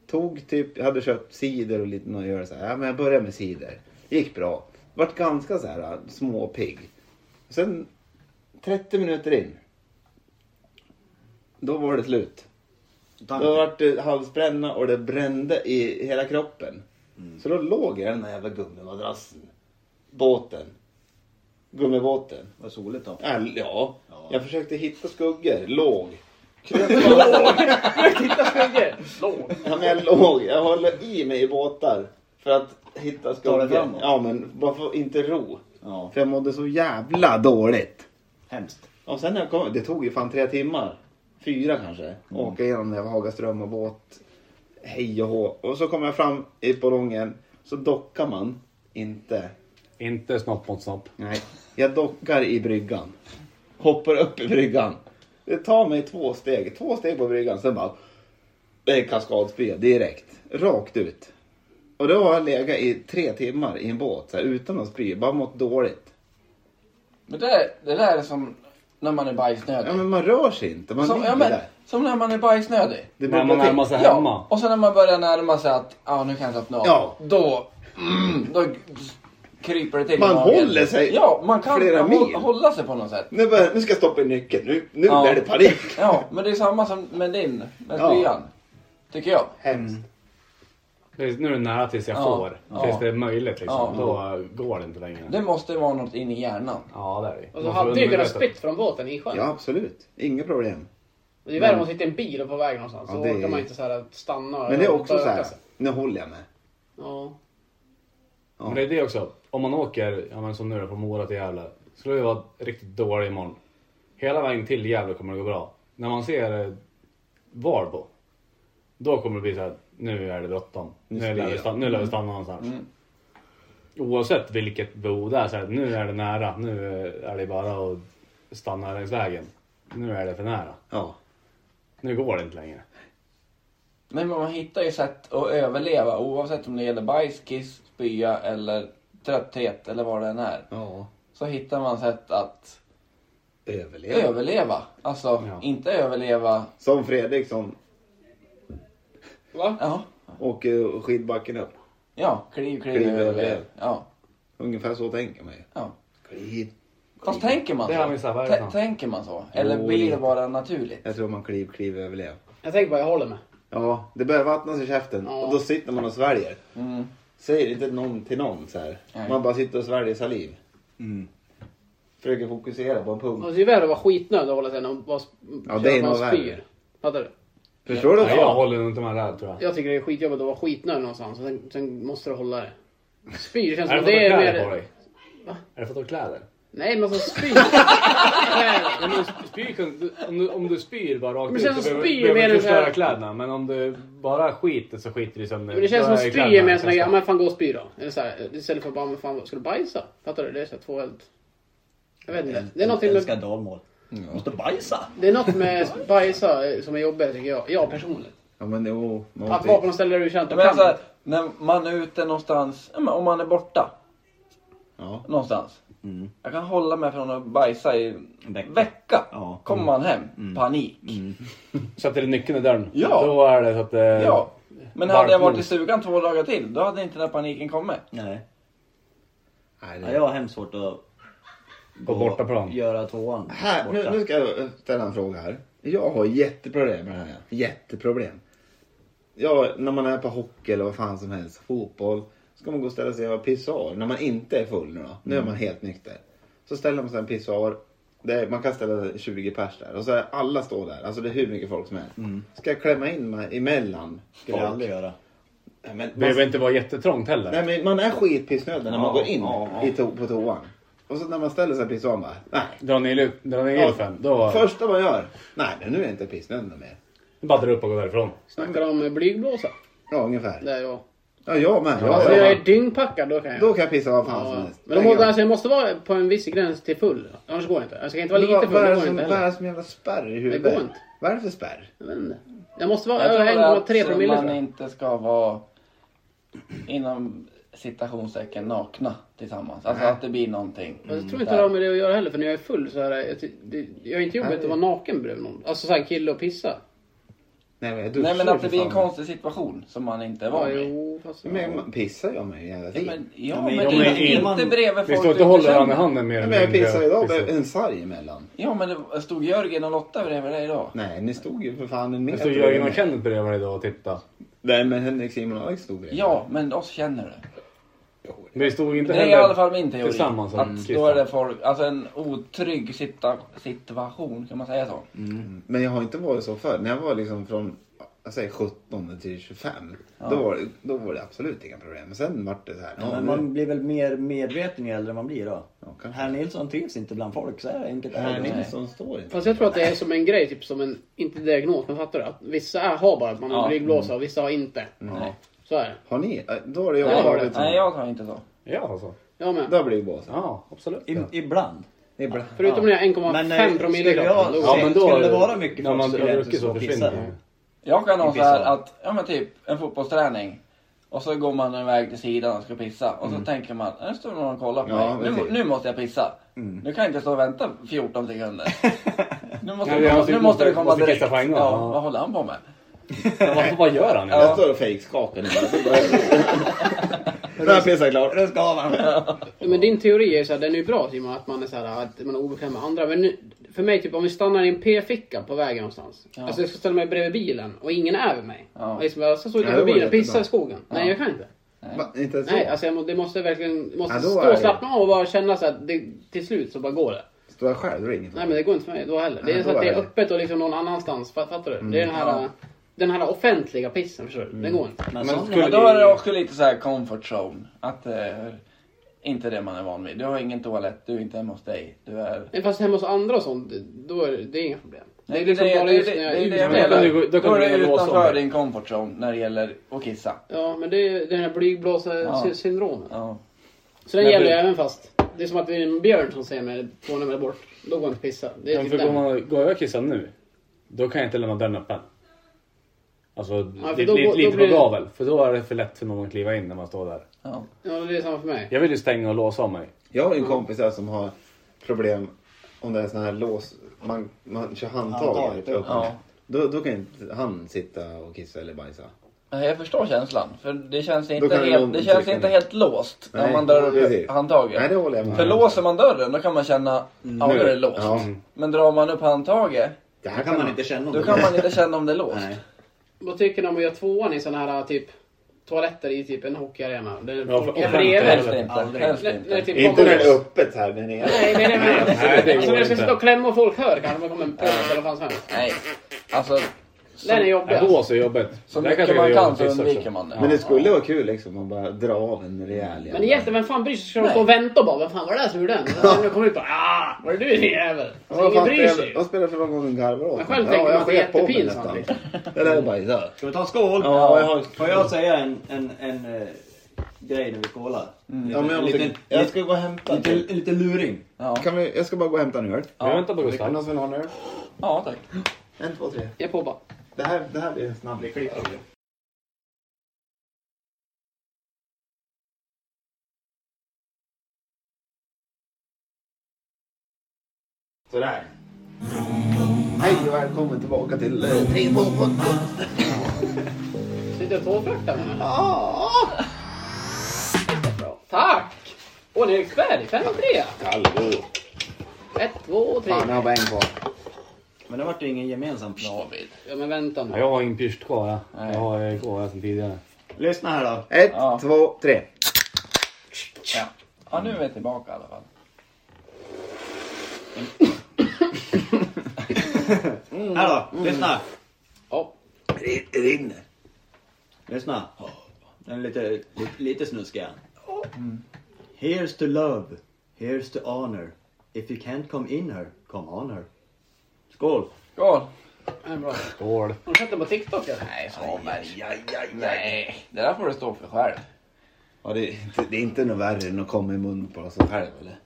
[SPEAKER 3] Tog typ, jag hade köpt cider och lite något att göra så här. Ja, men jag började med cider. Gick bra. Vart ganska så här småpigg. Sen 30 minuter in. Då var det slut. Då vart det halsbränna och det brände i hela kroppen. Så då låg jag i den där jävla gummimadrassen. Båten. Gummibåten.
[SPEAKER 2] Vad soligt då.
[SPEAKER 3] Äl- Ja.
[SPEAKER 2] Ja.
[SPEAKER 3] Jag försökte hitta skuggor. Låg. Kröp låg.
[SPEAKER 4] Hitta skuggor! Slå!
[SPEAKER 3] Ja, men jag låg. Jag håller i mig i båtar. För att hitta
[SPEAKER 2] dig
[SPEAKER 3] skuggor.
[SPEAKER 2] framåt.
[SPEAKER 3] Ja men bara för att inte ro.
[SPEAKER 2] Ja.
[SPEAKER 3] För jag mådde så jävla dåligt.
[SPEAKER 2] Hemskt.
[SPEAKER 3] Och sen när jag kom, Mm. det tog ju fan tre timmar. Fyra kanske. Åka igenom det här Hagaström och båt. Hej och hå. Och så kom jag fram i ballongen. Så dockar man inte.
[SPEAKER 6] Inte snopp mot snopp.
[SPEAKER 3] Nej. Jag dockar i bryggan. Hoppar upp i bryggan. Det tar mig två steg. Två steg på bryggan. Sen bara. Det är kaskadspya direkt. Rakt ut. Och då har jag legat i tre timmar i en båt. Så här, utan att spy. Bara mått dåligt.
[SPEAKER 1] Men det, det där är som när man är bajsnödig.
[SPEAKER 3] Ja men man rör sig inte. Man
[SPEAKER 1] som,
[SPEAKER 3] ligger
[SPEAKER 1] ja, men,
[SPEAKER 3] där.
[SPEAKER 1] som när man är bajsnödig.
[SPEAKER 3] Det
[SPEAKER 6] När man
[SPEAKER 3] bubblar till.
[SPEAKER 6] närmar sig
[SPEAKER 1] Ja,
[SPEAKER 6] hemma.
[SPEAKER 1] och sen när man börjar närma sig att ah, nu kan jag slappna av.
[SPEAKER 3] Ja.
[SPEAKER 1] Då, mm, då kryper det till i
[SPEAKER 3] Man
[SPEAKER 1] magen.
[SPEAKER 3] håller sig
[SPEAKER 1] Ja, man kan
[SPEAKER 3] flera
[SPEAKER 1] hå-
[SPEAKER 3] mil.
[SPEAKER 1] hålla sig på något sätt.
[SPEAKER 3] Nu, börjar, nu ska jag stoppa in nyckeln. Nu, nu
[SPEAKER 1] Ja.
[SPEAKER 3] är det panik.
[SPEAKER 1] Ja, men det är samma som med din, med
[SPEAKER 3] Ja.
[SPEAKER 1] spyan. Tycker jag.
[SPEAKER 3] Hemskt.
[SPEAKER 6] Det är- Nu är det nära tills jag
[SPEAKER 1] Ja.
[SPEAKER 6] får.
[SPEAKER 1] Ja.
[SPEAKER 6] Tills det är möjligt liksom.
[SPEAKER 1] Ja.
[SPEAKER 6] Då eh, går det inte längre.
[SPEAKER 1] Det måste vara något in i hjärnan.
[SPEAKER 6] Ja, det är det.
[SPEAKER 4] Och så
[SPEAKER 6] Man får
[SPEAKER 4] Alltså, hade du kunnat
[SPEAKER 6] undermedvetet.
[SPEAKER 4] spytt från båten i sjön.
[SPEAKER 3] Ja, absolut. Inga problem.
[SPEAKER 4] Det är värre om man sitter i en bil och på väg någonstans.
[SPEAKER 3] Ja,
[SPEAKER 4] då
[SPEAKER 3] det är-
[SPEAKER 4] kan man inte så här stanna.
[SPEAKER 3] Men det är
[SPEAKER 4] och
[SPEAKER 3] också så här.
[SPEAKER 4] böka sig.
[SPEAKER 3] Nu håller jag med.
[SPEAKER 4] Ja.
[SPEAKER 6] Men det är det också. Om man åker, ja, men som nu då, från Mora till Gävle. Skulle det vara riktigt dålig imorgon. Hela vägen till Gävle kommer det gå bra. När man ser eh, Varbo. Då kommer det bli så här, nu är det bråttom. Nu,
[SPEAKER 3] ska
[SPEAKER 6] lär vi Mm.
[SPEAKER 3] jag.
[SPEAKER 6] stanna- nu lär vi stanna någonstans. Oavsett vilket bo det är, så här, nu är det nära. Nu eh, är det bara att stanna längs vägen. Nu är det för nära.
[SPEAKER 3] Ja.
[SPEAKER 6] Nu går det inte längre.
[SPEAKER 1] Nej, men man hittar ju sätt att överleva oavsett om det gäller bajs, kiss, spya eller trötthet eller vad det än är.
[SPEAKER 3] Ja.
[SPEAKER 1] Så hittar man sätt att
[SPEAKER 5] Överleva.
[SPEAKER 1] överleva. Alltså,
[SPEAKER 6] Ja.
[SPEAKER 1] inte överleva...
[SPEAKER 3] Som Fredrik som
[SPEAKER 4] Va?
[SPEAKER 1] Ja,
[SPEAKER 3] åker skidbacken upp.
[SPEAKER 1] ja kliv, kliv,
[SPEAKER 3] Kliv,
[SPEAKER 1] överlev.
[SPEAKER 3] överlev.
[SPEAKER 1] Ja,
[SPEAKER 3] Ungefär så tänker man ju.
[SPEAKER 1] ja.
[SPEAKER 3] Kliv.
[SPEAKER 1] Fast tänker man
[SPEAKER 6] Det har vi
[SPEAKER 1] så?
[SPEAKER 6] missat, vad är det
[SPEAKER 1] Tä-
[SPEAKER 6] för något?
[SPEAKER 1] Tänker man så? Eller
[SPEAKER 3] Jo,
[SPEAKER 1] blir
[SPEAKER 3] lite. Eh.
[SPEAKER 1] det bara naturligt?
[SPEAKER 3] Jag tror man kliv, kliv, överlev.
[SPEAKER 4] Jag tänker vad jag håller med.
[SPEAKER 3] Ja, det börjar vattnas i käften
[SPEAKER 4] Ja.
[SPEAKER 3] och då sitter man och sväljer.
[SPEAKER 1] Mm.
[SPEAKER 3] Säger inte någon till någon så här.
[SPEAKER 1] Nej.
[SPEAKER 3] Man bara sitter och sväljer saliv. Försöker fokusera på en punkt.
[SPEAKER 4] Alltså, det är värre att vara skitnödig och hålla sig när man bara
[SPEAKER 3] Ja, det är nog värre.
[SPEAKER 4] Fattar du?
[SPEAKER 3] Förstår du?
[SPEAKER 6] Nej, jag håller nog inte med där tror jag.
[SPEAKER 4] Jag tycker det är skitjobbigt att vara skitnödig någonstans och sen, sen måste du hålla det. Spyr känns
[SPEAKER 6] Är det
[SPEAKER 4] som alltså,
[SPEAKER 6] för att
[SPEAKER 4] det
[SPEAKER 6] du
[SPEAKER 4] är
[SPEAKER 6] har kläder på
[SPEAKER 4] mer...
[SPEAKER 6] dig? Är det för att du har kläder?
[SPEAKER 4] Nej men alltså spyr...
[SPEAKER 6] Men om du spyr, kan du- om, du, om du spyr bara rakt
[SPEAKER 4] Men
[SPEAKER 6] ut
[SPEAKER 4] sen
[SPEAKER 6] så
[SPEAKER 4] så
[SPEAKER 6] behöver
[SPEAKER 4] spyr
[SPEAKER 6] behöver du
[SPEAKER 4] mer
[SPEAKER 6] inte
[SPEAKER 4] än så här-
[SPEAKER 6] förstöra kläderna. Men om du bara skiter så skiter du sönder.
[SPEAKER 4] Men det känns som
[SPEAKER 6] då är
[SPEAKER 4] att spy är
[SPEAKER 6] kläderna
[SPEAKER 4] mer sån här
[SPEAKER 6] nästan-
[SPEAKER 4] grej, ja, men fan gå och spy då. Eller så här, istället för bara, men fan ska du bajsa? Fattar du? Det är så här två helt... Jag vet inte. Det är någonting
[SPEAKER 2] Älskar
[SPEAKER 4] med,
[SPEAKER 2] dalmål. Måste bajsa.
[SPEAKER 4] det är något med bajsa som är jobbigt tycker jag. Jag personligen.
[SPEAKER 3] Ja men jo. man
[SPEAKER 4] Att
[SPEAKER 3] måste-
[SPEAKER 4] vara på något ställe där du känner att
[SPEAKER 1] Ja,
[SPEAKER 4] du
[SPEAKER 1] men
[SPEAKER 4] kan.
[SPEAKER 1] alltså, när man är ute någonstans, ja, men om man är borta
[SPEAKER 3] Ja.
[SPEAKER 1] någonstans. Jag kan hålla mig från att bajsa i en
[SPEAKER 2] Vecka.
[SPEAKER 1] vecka.
[SPEAKER 2] Ja.
[SPEAKER 1] Kommer man hem, panik.
[SPEAKER 6] Sätter du nyckeln i dörren?
[SPEAKER 1] Ja.
[SPEAKER 6] Då är det så att... Eh,
[SPEAKER 1] Ja. Men hade
[SPEAKER 6] Varmt
[SPEAKER 1] jag varit i
[SPEAKER 6] mos.
[SPEAKER 1] sugan två dagar till, då hade inte den här paniken kommit.
[SPEAKER 2] Nej.
[SPEAKER 3] Nej,
[SPEAKER 2] Ja,
[SPEAKER 3] det...
[SPEAKER 2] jag har hemskt svårt att...
[SPEAKER 6] På bortaplan.
[SPEAKER 2] Göra tvåan
[SPEAKER 3] här, nu,
[SPEAKER 2] borta.
[SPEAKER 3] nu ska jag ställa en fråga här. Jag har jätteproblem med det här. Jätteproblem. Ja, när man är på hockey eller vad fan som helst, fotboll. Ska man gå och ställa sig och göra pissoar när man inte är full nu då. Nu är
[SPEAKER 2] Mm.
[SPEAKER 3] man helt nykter. Så ställer man sig en pissoar. Det är, man kan ställa 20 pers där och så är alla står där. Alltså det är hur mycket folk som helst. Ska jag klämma in mig emellan?
[SPEAKER 2] Skulle jag Mm. aldrig göra.
[SPEAKER 3] Nej, men
[SPEAKER 6] Det
[SPEAKER 3] man-
[SPEAKER 6] behöver inte vara jättetrångt heller.
[SPEAKER 3] Nej men man är skitpissnödig när man
[SPEAKER 2] Ja,
[SPEAKER 3] går in
[SPEAKER 2] ja, ja.
[SPEAKER 3] I to- på toan. Och så när man ställer sig i pissoaren bara, nej.
[SPEAKER 6] Dra ner, lu- dra ner gylfen. Då
[SPEAKER 3] Första man gör, nej men nu är jag inte pissnödig mer.
[SPEAKER 6] bara drar upp och går därifrån.
[SPEAKER 4] Snackar om eh, blygblåsa.
[SPEAKER 3] Ja ungefär.
[SPEAKER 4] Det är jag.
[SPEAKER 3] Ja jag med. Ja,
[SPEAKER 4] Alltså
[SPEAKER 3] ja.
[SPEAKER 4] jag är dyngpackad, då kan jag.
[SPEAKER 3] Då kan jag pissa vad fan som
[SPEAKER 4] Ja.
[SPEAKER 3] helst.
[SPEAKER 4] Men de måste, alltså, jag måste vara på en viss gräns till full. Annars går det inte. Alltså, jag kan inte vara lite
[SPEAKER 3] vad, vad,
[SPEAKER 4] full,
[SPEAKER 3] är
[SPEAKER 4] det
[SPEAKER 3] det
[SPEAKER 4] går
[SPEAKER 3] som,
[SPEAKER 4] inte
[SPEAKER 3] vad är
[SPEAKER 4] heller.
[SPEAKER 3] det som jävla spärr i huvudet?
[SPEAKER 4] Det går inte.
[SPEAKER 3] Vad är det för spärr?
[SPEAKER 4] Jag vet inte. Jag måste vara
[SPEAKER 1] Jag tror
[SPEAKER 4] över
[SPEAKER 1] att
[SPEAKER 4] 1,3 promille tror
[SPEAKER 1] man
[SPEAKER 4] jag.
[SPEAKER 1] inte ska vara inom citationstecken nakna tillsammans. Alltså att det blir någonting.
[SPEAKER 4] Jag tror inte
[SPEAKER 1] där.
[SPEAKER 4] det har med det att göra heller för när jag är full så är det, jag, ty- det, jag är inte jobbigt
[SPEAKER 3] Nej.
[SPEAKER 4] att vara naken bredvid någon. Alltså såhär kille och pissa.
[SPEAKER 3] Nej men jag duschar
[SPEAKER 1] Nej men
[SPEAKER 3] ju
[SPEAKER 1] att
[SPEAKER 3] för
[SPEAKER 1] det blir en
[SPEAKER 3] fan.
[SPEAKER 1] konstig situation som man inte är van
[SPEAKER 4] Ja,
[SPEAKER 1] vid.
[SPEAKER 4] jo, fast...
[SPEAKER 3] Men man pissar gör man ju hela
[SPEAKER 1] Ja,
[SPEAKER 3] tiden.
[SPEAKER 1] men, ja,
[SPEAKER 2] Ja,
[SPEAKER 1] men,
[SPEAKER 2] men- ja, men
[SPEAKER 1] inte,
[SPEAKER 6] in-
[SPEAKER 1] inte bredvid
[SPEAKER 6] Vi
[SPEAKER 1] folk
[SPEAKER 6] står
[SPEAKER 1] du
[SPEAKER 6] inte
[SPEAKER 1] inte
[SPEAKER 6] och håller
[SPEAKER 1] känner.
[SPEAKER 6] varandra i handen mer
[SPEAKER 3] Nej,
[SPEAKER 6] eller
[SPEAKER 3] men jag
[SPEAKER 6] mindre.
[SPEAKER 3] pissar idag, det
[SPEAKER 6] Pissar.
[SPEAKER 3] är en sarg emellan.
[SPEAKER 1] Ja men det stod Jörgen och Lotta bredvid dig idag?
[SPEAKER 3] Nej ni stod ju för fan en
[SPEAKER 6] Det
[SPEAKER 3] meter.
[SPEAKER 6] står Jörgen och Kenneth bredvid dig idag och titta.
[SPEAKER 3] Nej men Henrik Simon och Alex stod bredvid.
[SPEAKER 1] Ja, men oss känner du.
[SPEAKER 6] Men det stod ju inte
[SPEAKER 1] Det är i alla fall min teori.
[SPEAKER 6] tillsammans som
[SPEAKER 1] Att då
[SPEAKER 6] Christian.
[SPEAKER 1] är det folk, alltså en otrygg sitta, situation, kan man säga så?
[SPEAKER 3] Mm. Men jag har inte varit så förr. När jag var liksom från jag säger 17 till 25. Då, var det, då var det absolut inga problem. Men sen vart det så här.
[SPEAKER 2] Ja, men man blir väl mer medveten ju äldre man blir då. Herr Nilsson trivs inte bland folk, så här enkelt
[SPEAKER 3] Herr
[SPEAKER 2] är det.
[SPEAKER 3] Nilsson står inte.
[SPEAKER 4] Fast jag tror att det är som en grej, typ som en, inte diagnos, men fattar du? Att vissa är- har bara att man har
[SPEAKER 1] Ja. Mm.
[SPEAKER 4] ryggblåsa och vissa har inte.
[SPEAKER 1] Nej.
[SPEAKER 4] Så är det.
[SPEAKER 3] Har ni? eh, Då har det jag
[SPEAKER 4] Nej,
[SPEAKER 3] varit
[SPEAKER 4] det-
[SPEAKER 3] som-
[SPEAKER 1] Nej, jag tar inte så.
[SPEAKER 6] Ja, alltså.
[SPEAKER 4] Ja men.
[SPEAKER 3] Då blir det bås.
[SPEAKER 6] Ja, absolut.
[SPEAKER 2] I, ibland.
[SPEAKER 3] Ibland.
[SPEAKER 4] Förutom när jag är
[SPEAKER 2] Men, eh,
[SPEAKER 4] 1,5 promille i
[SPEAKER 2] skulle jag-
[SPEAKER 4] kroppen. då går
[SPEAKER 6] Ja,
[SPEAKER 4] det.
[SPEAKER 6] men då...
[SPEAKER 2] Skulle det vara mycket
[SPEAKER 6] när
[SPEAKER 2] folk
[SPEAKER 6] man
[SPEAKER 2] skulle jag
[SPEAKER 6] drar
[SPEAKER 2] inte
[SPEAKER 6] druckit så
[SPEAKER 2] stå och pissa.
[SPEAKER 6] försvinner det.
[SPEAKER 1] Jag kan ha
[SPEAKER 2] I
[SPEAKER 1] så här
[SPEAKER 2] pissoar.
[SPEAKER 1] att, ja men typ en fotbollsträning. Och så går man en väg till sidan och ska pissa. Och så
[SPEAKER 6] Mm.
[SPEAKER 1] tänker man, nu står någon och kollar på
[SPEAKER 3] Ja,
[SPEAKER 1] mig. Nu,
[SPEAKER 3] precis.
[SPEAKER 1] nu måste jag pissa.
[SPEAKER 6] Mm.
[SPEAKER 1] Nu kan jag inte stå och vänta 14 sekunder. Nu måste,
[SPEAKER 6] Nej,
[SPEAKER 1] det
[SPEAKER 6] jag
[SPEAKER 1] komma,
[SPEAKER 6] måste-
[SPEAKER 1] nu måste det komma
[SPEAKER 6] måste
[SPEAKER 1] direkt.
[SPEAKER 6] kissa på en gång.
[SPEAKER 1] Ja,
[SPEAKER 6] Ja.
[SPEAKER 1] vad håller han på med?
[SPEAKER 6] Men Vad, vad gör han?
[SPEAKER 3] Jag
[SPEAKER 6] Ja.
[SPEAKER 3] står och fejkskakar nu. Då har jag pissat klart.
[SPEAKER 2] Det ska man.
[SPEAKER 4] Men din teori är så här, den är ju bra Simon, att man är så här, att man är obekväm med andra. Men nu, för mig, typ om vi stannar i en p-ficka på vägen någonstans.
[SPEAKER 1] Ja.
[SPEAKER 4] Alltså jag ska ställa mig bredvid bilen och ingen är över mig.
[SPEAKER 1] Ja.
[SPEAKER 4] Och liksom, jag ska stå
[SPEAKER 3] Ja, det går
[SPEAKER 4] utanför bilen och
[SPEAKER 3] jättebra.
[SPEAKER 4] pissa i skogen. Nej, jag kan inte.
[SPEAKER 3] Va, Inte ens
[SPEAKER 4] Nej,
[SPEAKER 3] så?
[SPEAKER 4] alltså jag må, det måste verkligen, måste
[SPEAKER 3] Ja, då är
[SPEAKER 4] stå
[SPEAKER 3] det-
[SPEAKER 4] och slappna av och bara känna så att det, till slut så bara går det.
[SPEAKER 3] Står jag själv? Då är det inget
[SPEAKER 4] Nej men det går inte för mig då heller. Det är
[SPEAKER 3] Nej,
[SPEAKER 4] så
[SPEAKER 3] då
[SPEAKER 4] att det
[SPEAKER 3] är
[SPEAKER 4] är
[SPEAKER 3] det. Mm.
[SPEAKER 4] öppet och liksom någon annanstans. Fa- Fattar du? Det är den här, den här offentliga pissen förstår du.
[SPEAKER 1] Mm.
[SPEAKER 4] Den går inte.
[SPEAKER 2] Men
[SPEAKER 6] Men
[SPEAKER 2] sån-
[SPEAKER 6] skulle-
[SPEAKER 1] Men då är det också lite så här comfort zone. Att eh, inte det man är van vid. Du har ingen toalett, du är inte hemma hos dig. Du är...
[SPEAKER 4] Nej, fast hemma hos andra och sånt, då är det, det är inga problem.
[SPEAKER 1] Nej,
[SPEAKER 4] det är liksom
[SPEAKER 1] det,
[SPEAKER 4] bara
[SPEAKER 1] det,
[SPEAKER 4] just
[SPEAKER 1] det,
[SPEAKER 4] när jag
[SPEAKER 1] det,
[SPEAKER 4] är
[SPEAKER 1] är det jag
[SPEAKER 4] ute.
[SPEAKER 6] kan du
[SPEAKER 1] menar.
[SPEAKER 6] gå- då kan
[SPEAKER 1] Då
[SPEAKER 6] du
[SPEAKER 1] är
[SPEAKER 6] gå
[SPEAKER 1] du
[SPEAKER 6] och låsa om
[SPEAKER 1] utanför
[SPEAKER 6] dig.
[SPEAKER 1] din comfort zone när det gäller att kissa.
[SPEAKER 4] Ja, men det är den här blygblåsesyndromen.
[SPEAKER 1] Ja.
[SPEAKER 4] Så den
[SPEAKER 6] Men
[SPEAKER 4] gäller ju
[SPEAKER 6] du-
[SPEAKER 4] även fast. Det är som att det är en björn som ser mig 200 meter bort. Då går jag inte pissa. Det är typ
[SPEAKER 6] Men för går,
[SPEAKER 4] den.
[SPEAKER 6] man, går jag och kissar nu, då kan jag inte lämna dörren öppen. Alltså,
[SPEAKER 4] för
[SPEAKER 6] li-
[SPEAKER 4] då
[SPEAKER 6] li-
[SPEAKER 4] går- då
[SPEAKER 6] lite på
[SPEAKER 4] blir-
[SPEAKER 6] gavel. För då är det för lätt för någon att kliva in när man står där.
[SPEAKER 1] Ja.
[SPEAKER 4] Ja, det är samma för mig.
[SPEAKER 6] Jag vill ju stänga och låsa om mig.
[SPEAKER 3] Jag har ju en kompis här som har problem om det är sån här lås, man, man kör handtaget
[SPEAKER 6] Handtaget
[SPEAKER 3] upp.
[SPEAKER 6] upp.
[SPEAKER 2] Ja.
[SPEAKER 3] Då, då kan ju inte han sitta och kissa eller bajsa.
[SPEAKER 1] Nej, jag förstår känslan. För det känns inte,
[SPEAKER 3] kan
[SPEAKER 1] helt,
[SPEAKER 3] någon
[SPEAKER 1] det känns
[SPEAKER 3] trycka
[SPEAKER 1] inte
[SPEAKER 3] ner.
[SPEAKER 1] helt låst när
[SPEAKER 3] Nej,
[SPEAKER 1] man drar upp
[SPEAKER 3] precis.
[SPEAKER 1] handtaget.
[SPEAKER 3] Nej, det håller jag med
[SPEAKER 1] För
[SPEAKER 3] om.
[SPEAKER 1] låser man dörren då kan man känna, ja
[SPEAKER 3] Nu.
[SPEAKER 1] nu är det låst.
[SPEAKER 3] Ja.
[SPEAKER 1] Men drar man upp handtaget,
[SPEAKER 3] Det
[SPEAKER 2] Här kan man inte känna om
[SPEAKER 1] då
[SPEAKER 2] det.
[SPEAKER 1] kan man inte känna om det är låst.
[SPEAKER 2] Nej.
[SPEAKER 4] Vad tycker ni om att göra tvåan i såna här typ toaletter i typ en hockeyarena? Det är
[SPEAKER 6] Ja, för-
[SPEAKER 4] ja,
[SPEAKER 1] Helst
[SPEAKER 4] bredvid.
[SPEAKER 1] inte.
[SPEAKER 2] Aldrig.
[SPEAKER 1] Helst
[SPEAKER 4] Nej, nej,
[SPEAKER 1] inte.
[SPEAKER 4] typ
[SPEAKER 3] Inte
[SPEAKER 4] kommer-
[SPEAKER 3] när det är öppet här där nere.
[SPEAKER 4] Nej, det är det jag menar.
[SPEAKER 6] Nej, det går
[SPEAKER 4] Alltså när du ska
[SPEAKER 6] inte.
[SPEAKER 4] sitta och klämma och folk hör kanske det kommer en pöbel eller vad fan som helst.
[SPEAKER 1] Nej. Alltså,
[SPEAKER 4] Den är jobbig.
[SPEAKER 6] Ja,
[SPEAKER 4] alltså.
[SPEAKER 6] då så jobbigt.
[SPEAKER 1] så
[SPEAKER 6] Där kanske
[SPEAKER 1] mycket man
[SPEAKER 6] det
[SPEAKER 1] kan
[SPEAKER 6] jobbigt
[SPEAKER 1] så
[SPEAKER 6] också.
[SPEAKER 1] undviker man det.
[SPEAKER 3] Men det skulle vara kul liksom att bara dra av en rejäl jävla-
[SPEAKER 4] Men egentligen, vem fan bryr sig? Ska de
[SPEAKER 1] Nej.
[SPEAKER 4] stå och vänta och bara, vem fan var det där som gjorde den? Ja. Nu kommer ut bara, ah, var det du din jävel?
[SPEAKER 3] Ja,
[SPEAKER 4] Så
[SPEAKER 3] vad fan
[SPEAKER 4] ingen bryr
[SPEAKER 3] spelar-
[SPEAKER 4] sig.
[SPEAKER 3] Vad spelar det för roll om de garvar åt
[SPEAKER 4] Men själv
[SPEAKER 3] mig?
[SPEAKER 4] tänker man
[SPEAKER 3] jag
[SPEAKER 4] att det är
[SPEAKER 3] sket på mig
[SPEAKER 4] jättepinsamt,
[SPEAKER 3] nästan.
[SPEAKER 4] liksom.
[SPEAKER 3] Det där är bajsar.
[SPEAKER 2] Ska vi ta en skål?
[SPEAKER 3] Ja, jag har-
[SPEAKER 2] Får jag säga en, en, en eh, grej när vi skålar? Mm.
[SPEAKER 3] Ja, men jag, måste, jag ska gå och hämta.
[SPEAKER 2] lite, lite, lite luring.
[SPEAKER 1] Ja,
[SPEAKER 3] Kan vi, jag ska bara gå och hämta en öl.
[SPEAKER 6] Jag väntar på
[SPEAKER 3] Är det
[SPEAKER 6] Gustav.
[SPEAKER 3] någon som vill ha en öl?
[SPEAKER 1] ja tack.
[SPEAKER 3] En, två, tre.
[SPEAKER 4] Jag är på bara.
[SPEAKER 3] Det här, det här blir en snabb klipp. Sådär. Hej och välkommen tillbaka till eh, Tre Två Podcast.
[SPEAKER 4] Sitter jag och tårtflörtar med henne? Bra. Tack! Åh, Eriksberg, 5-3.
[SPEAKER 3] Hallå.
[SPEAKER 4] 1, 2, 3.
[SPEAKER 3] Fan, jag har bara en kvar.
[SPEAKER 2] Men det vart ju ingen gemensam.
[SPEAKER 1] David.
[SPEAKER 4] Ja, men vänta
[SPEAKER 6] Ja,
[SPEAKER 4] nu.
[SPEAKER 6] jag har ingen pyrst kvar. ja.
[SPEAKER 1] Nej.
[SPEAKER 6] Jag har eh, kvar sen tidigare.
[SPEAKER 2] Lyssna här då.
[SPEAKER 3] Ett,
[SPEAKER 1] Ja.
[SPEAKER 3] två, tre.
[SPEAKER 1] Ja. ja, nu är vi tillbaka i alla fall.
[SPEAKER 2] Här då. Lyssna.
[SPEAKER 4] Ja.
[SPEAKER 3] Det rinner.
[SPEAKER 2] Lyssna. Den är lite, lite, lite snuskig.
[SPEAKER 3] Mm.
[SPEAKER 2] Here's to love. Here's to honor. If you can't come in her, come on her. Skål.
[SPEAKER 1] Skål!
[SPEAKER 4] det är bra.
[SPEAKER 6] Skål.
[SPEAKER 4] Har du sett den på TikTok eller?
[SPEAKER 1] Nej, Svanberg. Nej, det där får du stå för själv.
[SPEAKER 3] Ja, det, det är inte något värre än att komma i munnen på sig själv eller?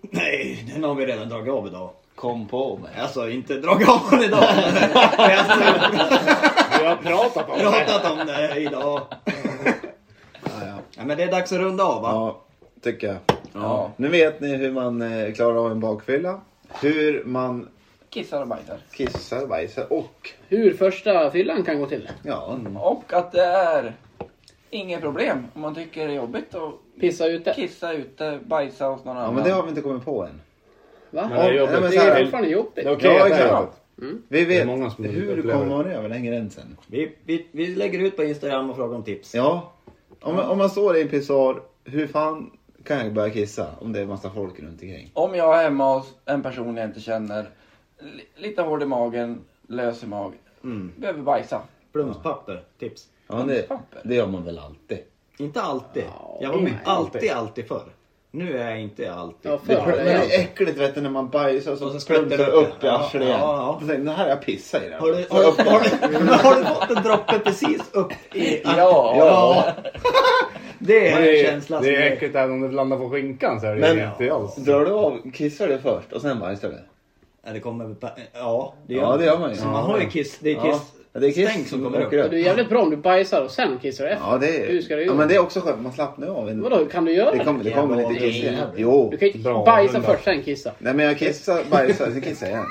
[SPEAKER 2] Nej, den har vi redan dragit av idag.
[SPEAKER 3] Kom på mig.
[SPEAKER 2] Alltså inte dragit av den idag. Men jag har
[SPEAKER 6] Vi har pratat om det.
[SPEAKER 2] pratat om det idag.
[SPEAKER 3] Ja, ja.
[SPEAKER 2] Ja, men det är dags att runda av va?
[SPEAKER 3] ja, tycker jag.
[SPEAKER 1] Ja.
[SPEAKER 3] Nu vet ni hur man eh, klarar av en bakfylla. Hur man
[SPEAKER 1] Kissar och bajsar.
[SPEAKER 3] kissar, bajsar och
[SPEAKER 4] Hur första fyllan kan gå till.
[SPEAKER 3] ja,
[SPEAKER 1] Och att det är inget problem om man tycker det är jobbigt att
[SPEAKER 4] Pissa ute.
[SPEAKER 1] kissa ute, bajsa hos någon
[SPEAKER 3] ja
[SPEAKER 1] annan.
[SPEAKER 3] men det har vi inte kommit på än.
[SPEAKER 4] Va?
[SPEAKER 6] Men det är
[SPEAKER 3] Ja,
[SPEAKER 6] jobbigt.
[SPEAKER 3] nej, men
[SPEAKER 4] Det
[SPEAKER 3] så
[SPEAKER 4] är
[SPEAKER 3] här-
[SPEAKER 4] fortfarande jobbigt.
[SPEAKER 6] Det är okej
[SPEAKER 3] ja,
[SPEAKER 6] att det är
[SPEAKER 3] exakt. Vi
[SPEAKER 6] Det
[SPEAKER 3] vet
[SPEAKER 6] är många som
[SPEAKER 3] hur
[SPEAKER 6] upplever
[SPEAKER 3] kommer man över den gränsen.
[SPEAKER 2] Vi, vi, vi lägger ut på Instagram och frågar om tips.
[SPEAKER 3] Ja, om, man- om man står i en pissoar, hur fan kan jag börja kissa om det är massa folk runt omkring?
[SPEAKER 1] Om jag är hemma hos en person jag inte känner, li- lite hård i magen, lös i magen,
[SPEAKER 2] Mm.
[SPEAKER 1] behöver bajsa.
[SPEAKER 2] Blomspapper, tips.
[SPEAKER 3] Ja, men det, det gör man väl alltid?
[SPEAKER 2] Inte alltid.
[SPEAKER 4] Ja,
[SPEAKER 2] Jag var
[SPEAKER 4] nej.
[SPEAKER 2] med alltid, alltid förr. Nu är jag inte alltid.
[SPEAKER 4] Ja,
[SPEAKER 3] Det,
[SPEAKER 4] förr.
[SPEAKER 3] men det
[SPEAKER 4] ja.
[SPEAKER 3] är äckligt vet du, när man bajsar och
[SPEAKER 2] Och
[SPEAKER 3] så
[SPEAKER 2] så
[SPEAKER 3] sprutar det
[SPEAKER 2] sprutar det
[SPEAKER 3] upp
[SPEAKER 2] upp.
[SPEAKER 3] i arslet
[SPEAKER 2] Ja,
[SPEAKER 3] igen.
[SPEAKER 2] ja, ja.
[SPEAKER 3] Och så tänker, Det här har jag pissat i. det här."
[SPEAKER 2] Har du, har, du, har, du, men har du fått en droppe precis upp i...
[SPEAKER 1] Ja.
[SPEAKER 2] ja. Det
[SPEAKER 6] Men
[SPEAKER 2] är
[SPEAKER 6] det
[SPEAKER 2] en
[SPEAKER 6] är,
[SPEAKER 2] känsla
[SPEAKER 6] det är
[SPEAKER 2] som
[SPEAKER 6] äckligt även om det landar på skinkan så är det
[SPEAKER 3] Men-
[SPEAKER 6] ju inte alls.
[SPEAKER 3] Drar du av, kissar du först och sen bajsar du?
[SPEAKER 2] Ja, det kommer... eh, Ja, det gör,
[SPEAKER 3] Ja, det gör man ju.
[SPEAKER 2] Så man har ju kiss... Det är
[SPEAKER 3] Ja,
[SPEAKER 2] kiss...
[SPEAKER 3] det är
[SPEAKER 2] stänk
[SPEAKER 3] kiss
[SPEAKER 2] som kommer upp.
[SPEAKER 3] åker
[SPEAKER 4] Och Det är jävligt bra om du bajsar och sen kissar du efter.
[SPEAKER 3] Ja, det är,
[SPEAKER 4] Hur ska du
[SPEAKER 3] ja,
[SPEAKER 4] göra?
[SPEAKER 3] men det är också skönt. Man slappnar ju av. En,
[SPEAKER 4] Vadå, kan du göra
[SPEAKER 3] det kommer, det kommer lite kiss igen.
[SPEAKER 2] Nej.
[SPEAKER 3] Jo.
[SPEAKER 4] Du kan ju inte
[SPEAKER 6] Bra,
[SPEAKER 4] bajsa
[SPEAKER 6] hundra.
[SPEAKER 4] först, sen kissa.
[SPEAKER 3] Nej, men jag kissar, bajsar, sen kissar jag igen.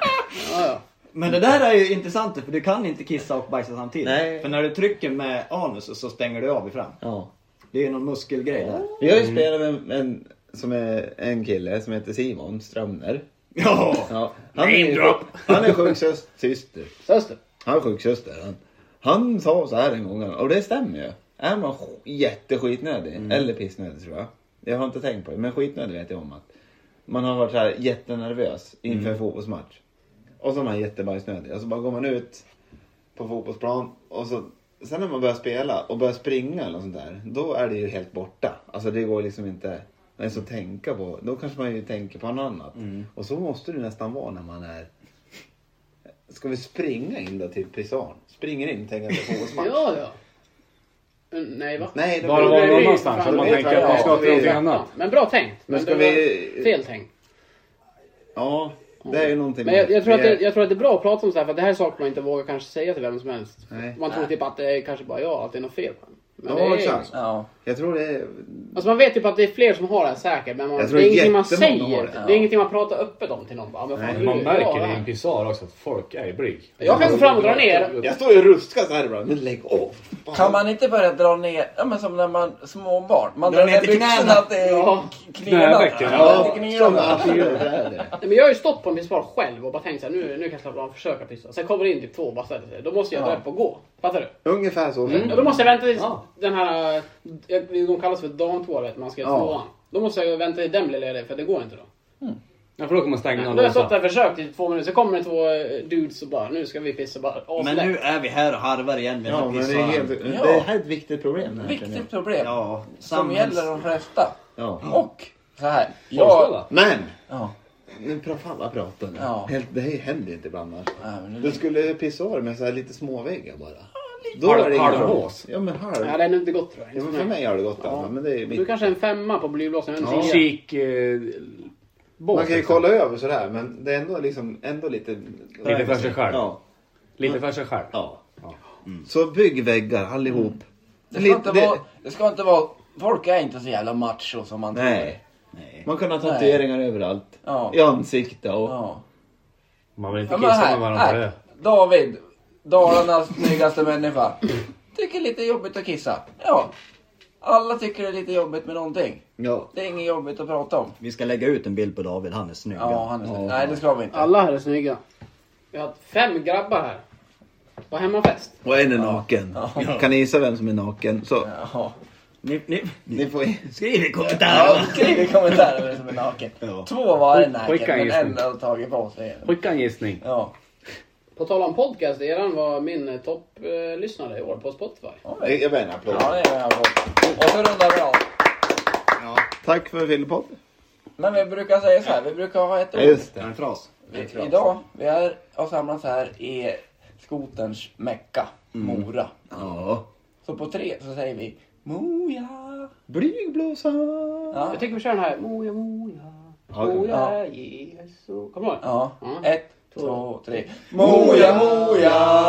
[SPEAKER 4] Ja, ja.
[SPEAKER 2] Men det där är ju intressant för du kan inte kissa och bajsa samtidigt.
[SPEAKER 3] Nej.
[SPEAKER 2] För när du trycker med anus så stänger du av ifrån.
[SPEAKER 3] Ja.
[SPEAKER 2] Det är ju någon muskelgrej där.
[SPEAKER 3] Vi har ju spelat med en, en, som är, en kille som heter Simon Strömner.
[SPEAKER 2] Ja!
[SPEAKER 3] Ja, han, är, ju- han är sjuksyster.
[SPEAKER 4] Söster.
[SPEAKER 3] Han är sjuksyster. Han, han sa så här en gång, och det stämmer ju. Är man sk- jätteskitnödig, eller pissnödig tror jag. Jag har inte tänkt på det, men skitnödig vet jag om att man har varit så här jättenervös inför en fotbollsmatch. Och så är man jättebajsnödig. Och så bara går man ut på fotbollsplan och så Sen när man börjar spela och börjar springa eller något sånt där, då är det ju helt borta. Alltså det går liksom inte ens att tänka på. Då kanske man ju tänker på något annat. Och så måste det nästan vara när man är Ska vi springa in då till pissoaren? Springer in tänker att det är fotbollsmatch.
[SPEAKER 4] Ja, ja. Mm, Nej, va?
[SPEAKER 3] Nej, då
[SPEAKER 6] Bara
[SPEAKER 3] blir
[SPEAKER 6] vara
[SPEAKER 3] det-
[SPEAKER 6] någon annanstans.
[SPEAKER 4] Fan,
[SPEAKER 6] Att man
[SPEAKER 3] det vet
[SPEAKER 6] tänker
[SPEAKER 3] jag.
[SPEAKER 6] att man ska
[SPEAKER 3] Ja,
[SPEAKER 6] till någonting
[SPEAKER 3] det-
[SPEAKER 4] Ja,
[SPEAKER 6] annat.
[SPEAKER 4] men bra tänkt. Men
[SPEAKER 3] Men ska
[SPEAKER 4] det var
[SPEAKER 3] vi-
[SPEAKER 4] Fel tänkt.
[SPEAKER 3] Ja, det är ju någonting.
[SPEAKER 4] Men jag, jag, tror att
[SPEAKER 3] vi är-
[SPEAKER 4] det, jag tror att det är bra att prata om så här för det här är saker man inte vågar kanske säga till vem som helst.
[SPEAKER 3] Nej.
[SPEAKER 4] Man tror typ att det är kanske bara jag, att det är något fel på en. Men
[SPEAKER 3] Ja,
[SPEAKER 4] det är,
[SPEAKER 3] exakt.
[SPEAKER 1] Ja.
[SPEAKER 3] Jag tror det är...
[SPEAKER 4] Alltså man vet ju på att det är fler som har det här säkert, men man,
[SPEAKER 3] Jag
[SPEAKER 4] det
[SPEAKER 3] tror
[SPEAKER 4] är ingenting man
[SPEAKER 3] jättemånga
[SPEAKER 4] säger.
[SPEAKER 3] har det.
[SPEAKER 4] Det, är ingenting man pratar öppet om till någon. Bara, men fan,
[SPEAKER 6] Men
[SPEAKER 4] du,
[SPEAKER 6] man märker
[SPEAKER 4] jag,
[SPEAKER 6] det i en pisar också att folk är blyg.
[SPEAKER 4] Jag kan gå fram och dra ner.
[SPEAKER 3] Jag står ju och ruskar så här ibland. Men lägg av! Fan.
[SPEAKER 1] Kan man inte börja dra ner, ja men som när man, små barn. Man
[SPEAKER 2] Dra
[SPEAKER 1] drar
[SPEAKER 2] ner
[SPEAKER 1] ner
[SPEAKER 2] till knäna.
[SPEAKER 1] byxorna till
[SPEAKER 4] Ja.
[SPEAKER 1] knäna.
[SPEAKER 6] Knävecken,
[SPEAKER 1] Ja,
[SPEAKER 3] Ja,
[SPEAKER 1] till
[SPEAKER 3] som
[SPEAKER 1] knäna.
[SPEAKER 3] alltid gör. Det är det.
[SPEAKER 4] Nej, Men jag har ju stått på en pissoar själv och bara tänkt såhär, nu, nu kan jag slappna av och försöka pissa. Sen kommer det in typ två och bara ställer sig. Då måste jag dra upp och gå. Fattar du?
[SPEAKER 3] Ungefär så.
[SPEAKER 4] Mm. Ja, då måste jag vänta tills
[SPEAKER 6] Ja.
[SPEAKER 4] den här, eh, de kallas för damtoa vet man ska göra
[SPEAKER 3] Ja.
[SPEAKER 4] tvåan. Då måste jag vänta i den lilla för det går inte då.
[SPEAKER 6] Ja, för då kan man stänga
[SPEAKER 4] Då
[SPEAKER 6] och
[SPEAKER 4] har jag stått där
[SPEAKER 6] låsa.
[SPEAKER 4] och försökt i två minuter, så kommer det två eh, dudes och bara, nu ska vi pissa bara
[SPEAKER 2] Men
[SPEAKER 4] aslätt.
[SPEAKER 2] nu är vi här och harvar igen med den
[SPEAKER 3] Ja,
[SPEAKER 2] här
[SPEAKER 3] men det, är
[SPEAKER 2] pissaren.
[SPEAKER 3] helt, det här är ett viktigt problem. det här, känner
[SPEAKER 1] Viktigt
[SPEAKER 3] jag.
[SPEAKER 1] problem.
[SPEAKER 2] Ja,
[SPEAKER 1] Som
[SPEAKER 2] samhälls...
[SPEAKER 1] gäller de flesta.
[SPEAKER 3] Ja.
[SPEAKER 1] Och så här.
[SPEAKER 6] Folkskola.
[SPEAKER 3] Men!
[SPEAKER 1] Ja.
[SPEAKER 3] Nu pra- fan vad pratar nu.
[SPEAKER 1] Ja.
[SPEAKER 3] Helt, det här händer inte ibland annars.
[SPEAKER 1] Ja, men det-
[SPEAKER 3] Du skulle pissa av med så här lite småväggar bara.
[SPEAKER 6] Halv-
[SPEAKER 3] ingen-
[SPEAKER 6] halvhås.
[SPEAKER 3] Ja men halv.
[SPEAKER 4] Ja, det är nog inte gott tror jag.
[SPEAKER 3] Ja,
[SPEAKER 4] Inte
[SPEAKER 3] men
[SPEAKER 4] för
[SPEAKER 3] för
[SPEAKER 4] mig.
[SPEAKER 3] mig har det gått
[SPEAKER 4] Ja.
[SPEAKER 3] alltså. Men det är
[SPEAKER 4] Du
[SPEAKER 3] mitt.
[SPEAKER 4] kanske är en femma på blyblåsen, en
[SPEAKER 6] Ja.
[SPEAKER 4] tia.
[SPEAKER 6] Kik... Eh, bås,
[SPEAKER 3] Man kan ju
[SPEAKER 6] liksom.
[SPEAKER 3] kolla över sådär men det är ändå liksom ändå lite...
[SPEAKER 6] Lite för sig själv.
[SPEAKER 3] Ja.
[SPEAKER 6] liksom. Lite för sig själv.
[SPEAKER 3] ja.
[SPEAKER 6] Ja.
[SPEAKER 3] Mm. Så bygg väggar allihop.
[SPEAKER 1] Det ska,
[SPEAKER 3] Lite-
[SPEAKER 1] inte
[SPEAKER 3] det-
[SPEAKER 1] vara, det ska inte vara... Folk är inte så jävla macho som man tror.
[SPEAKER 3] Nej.
[SPEAKER 2] Nej.
[SPEAKER 3] Man kan ha tatueringar överallt.
[SPEAKER 1] Ja.
[SPEAKER 3] I ansikte och...
[SPEAKER 1] Ja.
[SPEAKER 6] Man vill inte
[SPEAKER 1] Ja, men
[SPEAKER 6] kissa
[SPEAKER 1] här,
[SPEAKER 6] med varandra på
[SPEAKER 1] här.
[SPEAKER 6] det.
[SPEAKER 1] David, Dalarnas snyggaste människa. Tycker lite jobbigt att kissa. Ja. Alla tycker det är lite jobbigt med någonting.
[SPEAKER 3] Ja.
[SPEAKER 1] Det är inget jobbigt att prata om.
[SPEAKER 2] Vi ska lägga ut en bild på David, han är snygg.
[SPEAKER 1] Ja, han är snygg. Nej, det ska vi inte.
[SPEAKER 4] Alla här är snygga. Vi har fem grabbar här. På hemmafest.
[SPEAKER 3] Och en är naken. Kan ni gissa vem som är naken? Så.
[SPEAKER 1] Ja.
[SPEAKER 2] Ni, ni,
[SPEAKER 3] Ni får...
[SPEAKER 2] skriv i kommentarerna!
[SPEAKER 1] Skriv i kommentarer vem som är naken.
[SPEAKER 2] Ja.
[SPEAKER 1] Två var en naken,
[SPEAKER 6] Skicka en
[SPEAKER 1] men
[SPEAKER 6] gissning.
[SPEAKER 1] en har tagit på sig. en.
[SPEAKER 6] Skicka en gissning.
[SPEAKER 1] Ja.
[SPEAKER 4] På tal om podcast, eran var min eh, topplyssnare i år på Spotify.
[SPEAKER 3] Jag ber en applåd.
[SPEAKER 1] ja, det är jag på. Och så rundar vi av.
[SPEAKER 3] Tack för Fyllepodd.
[SPEAKER 1] Men vi brukar säga så här, vi brukar ha ett
[SPEAKER 3] Ja,
[SPEAKER 1] ord.
[SPEAKER 3] just det.
[SPEAKER 2] En fras.
[SPEAKER 1] Vi, idag, vi är, har samlats här i skoterns mecka, Mora.
[SPEAKER 3] Ja.
[SPEAKER 1] Så på tre så säger vi Moja.
[SPEAKER 3] Blygblåsa.
[SPEAKER 1] Ja.
[SPEAKER 4] Jag tycker vi kör den här. Moja, moja, moja, Jesu. Kommer du ihåg?
[SPEAKER 1] Ja.
[SPEAKER 4] Mm.
[SPEAKER 1] Ett, två, tre. Moja, moja.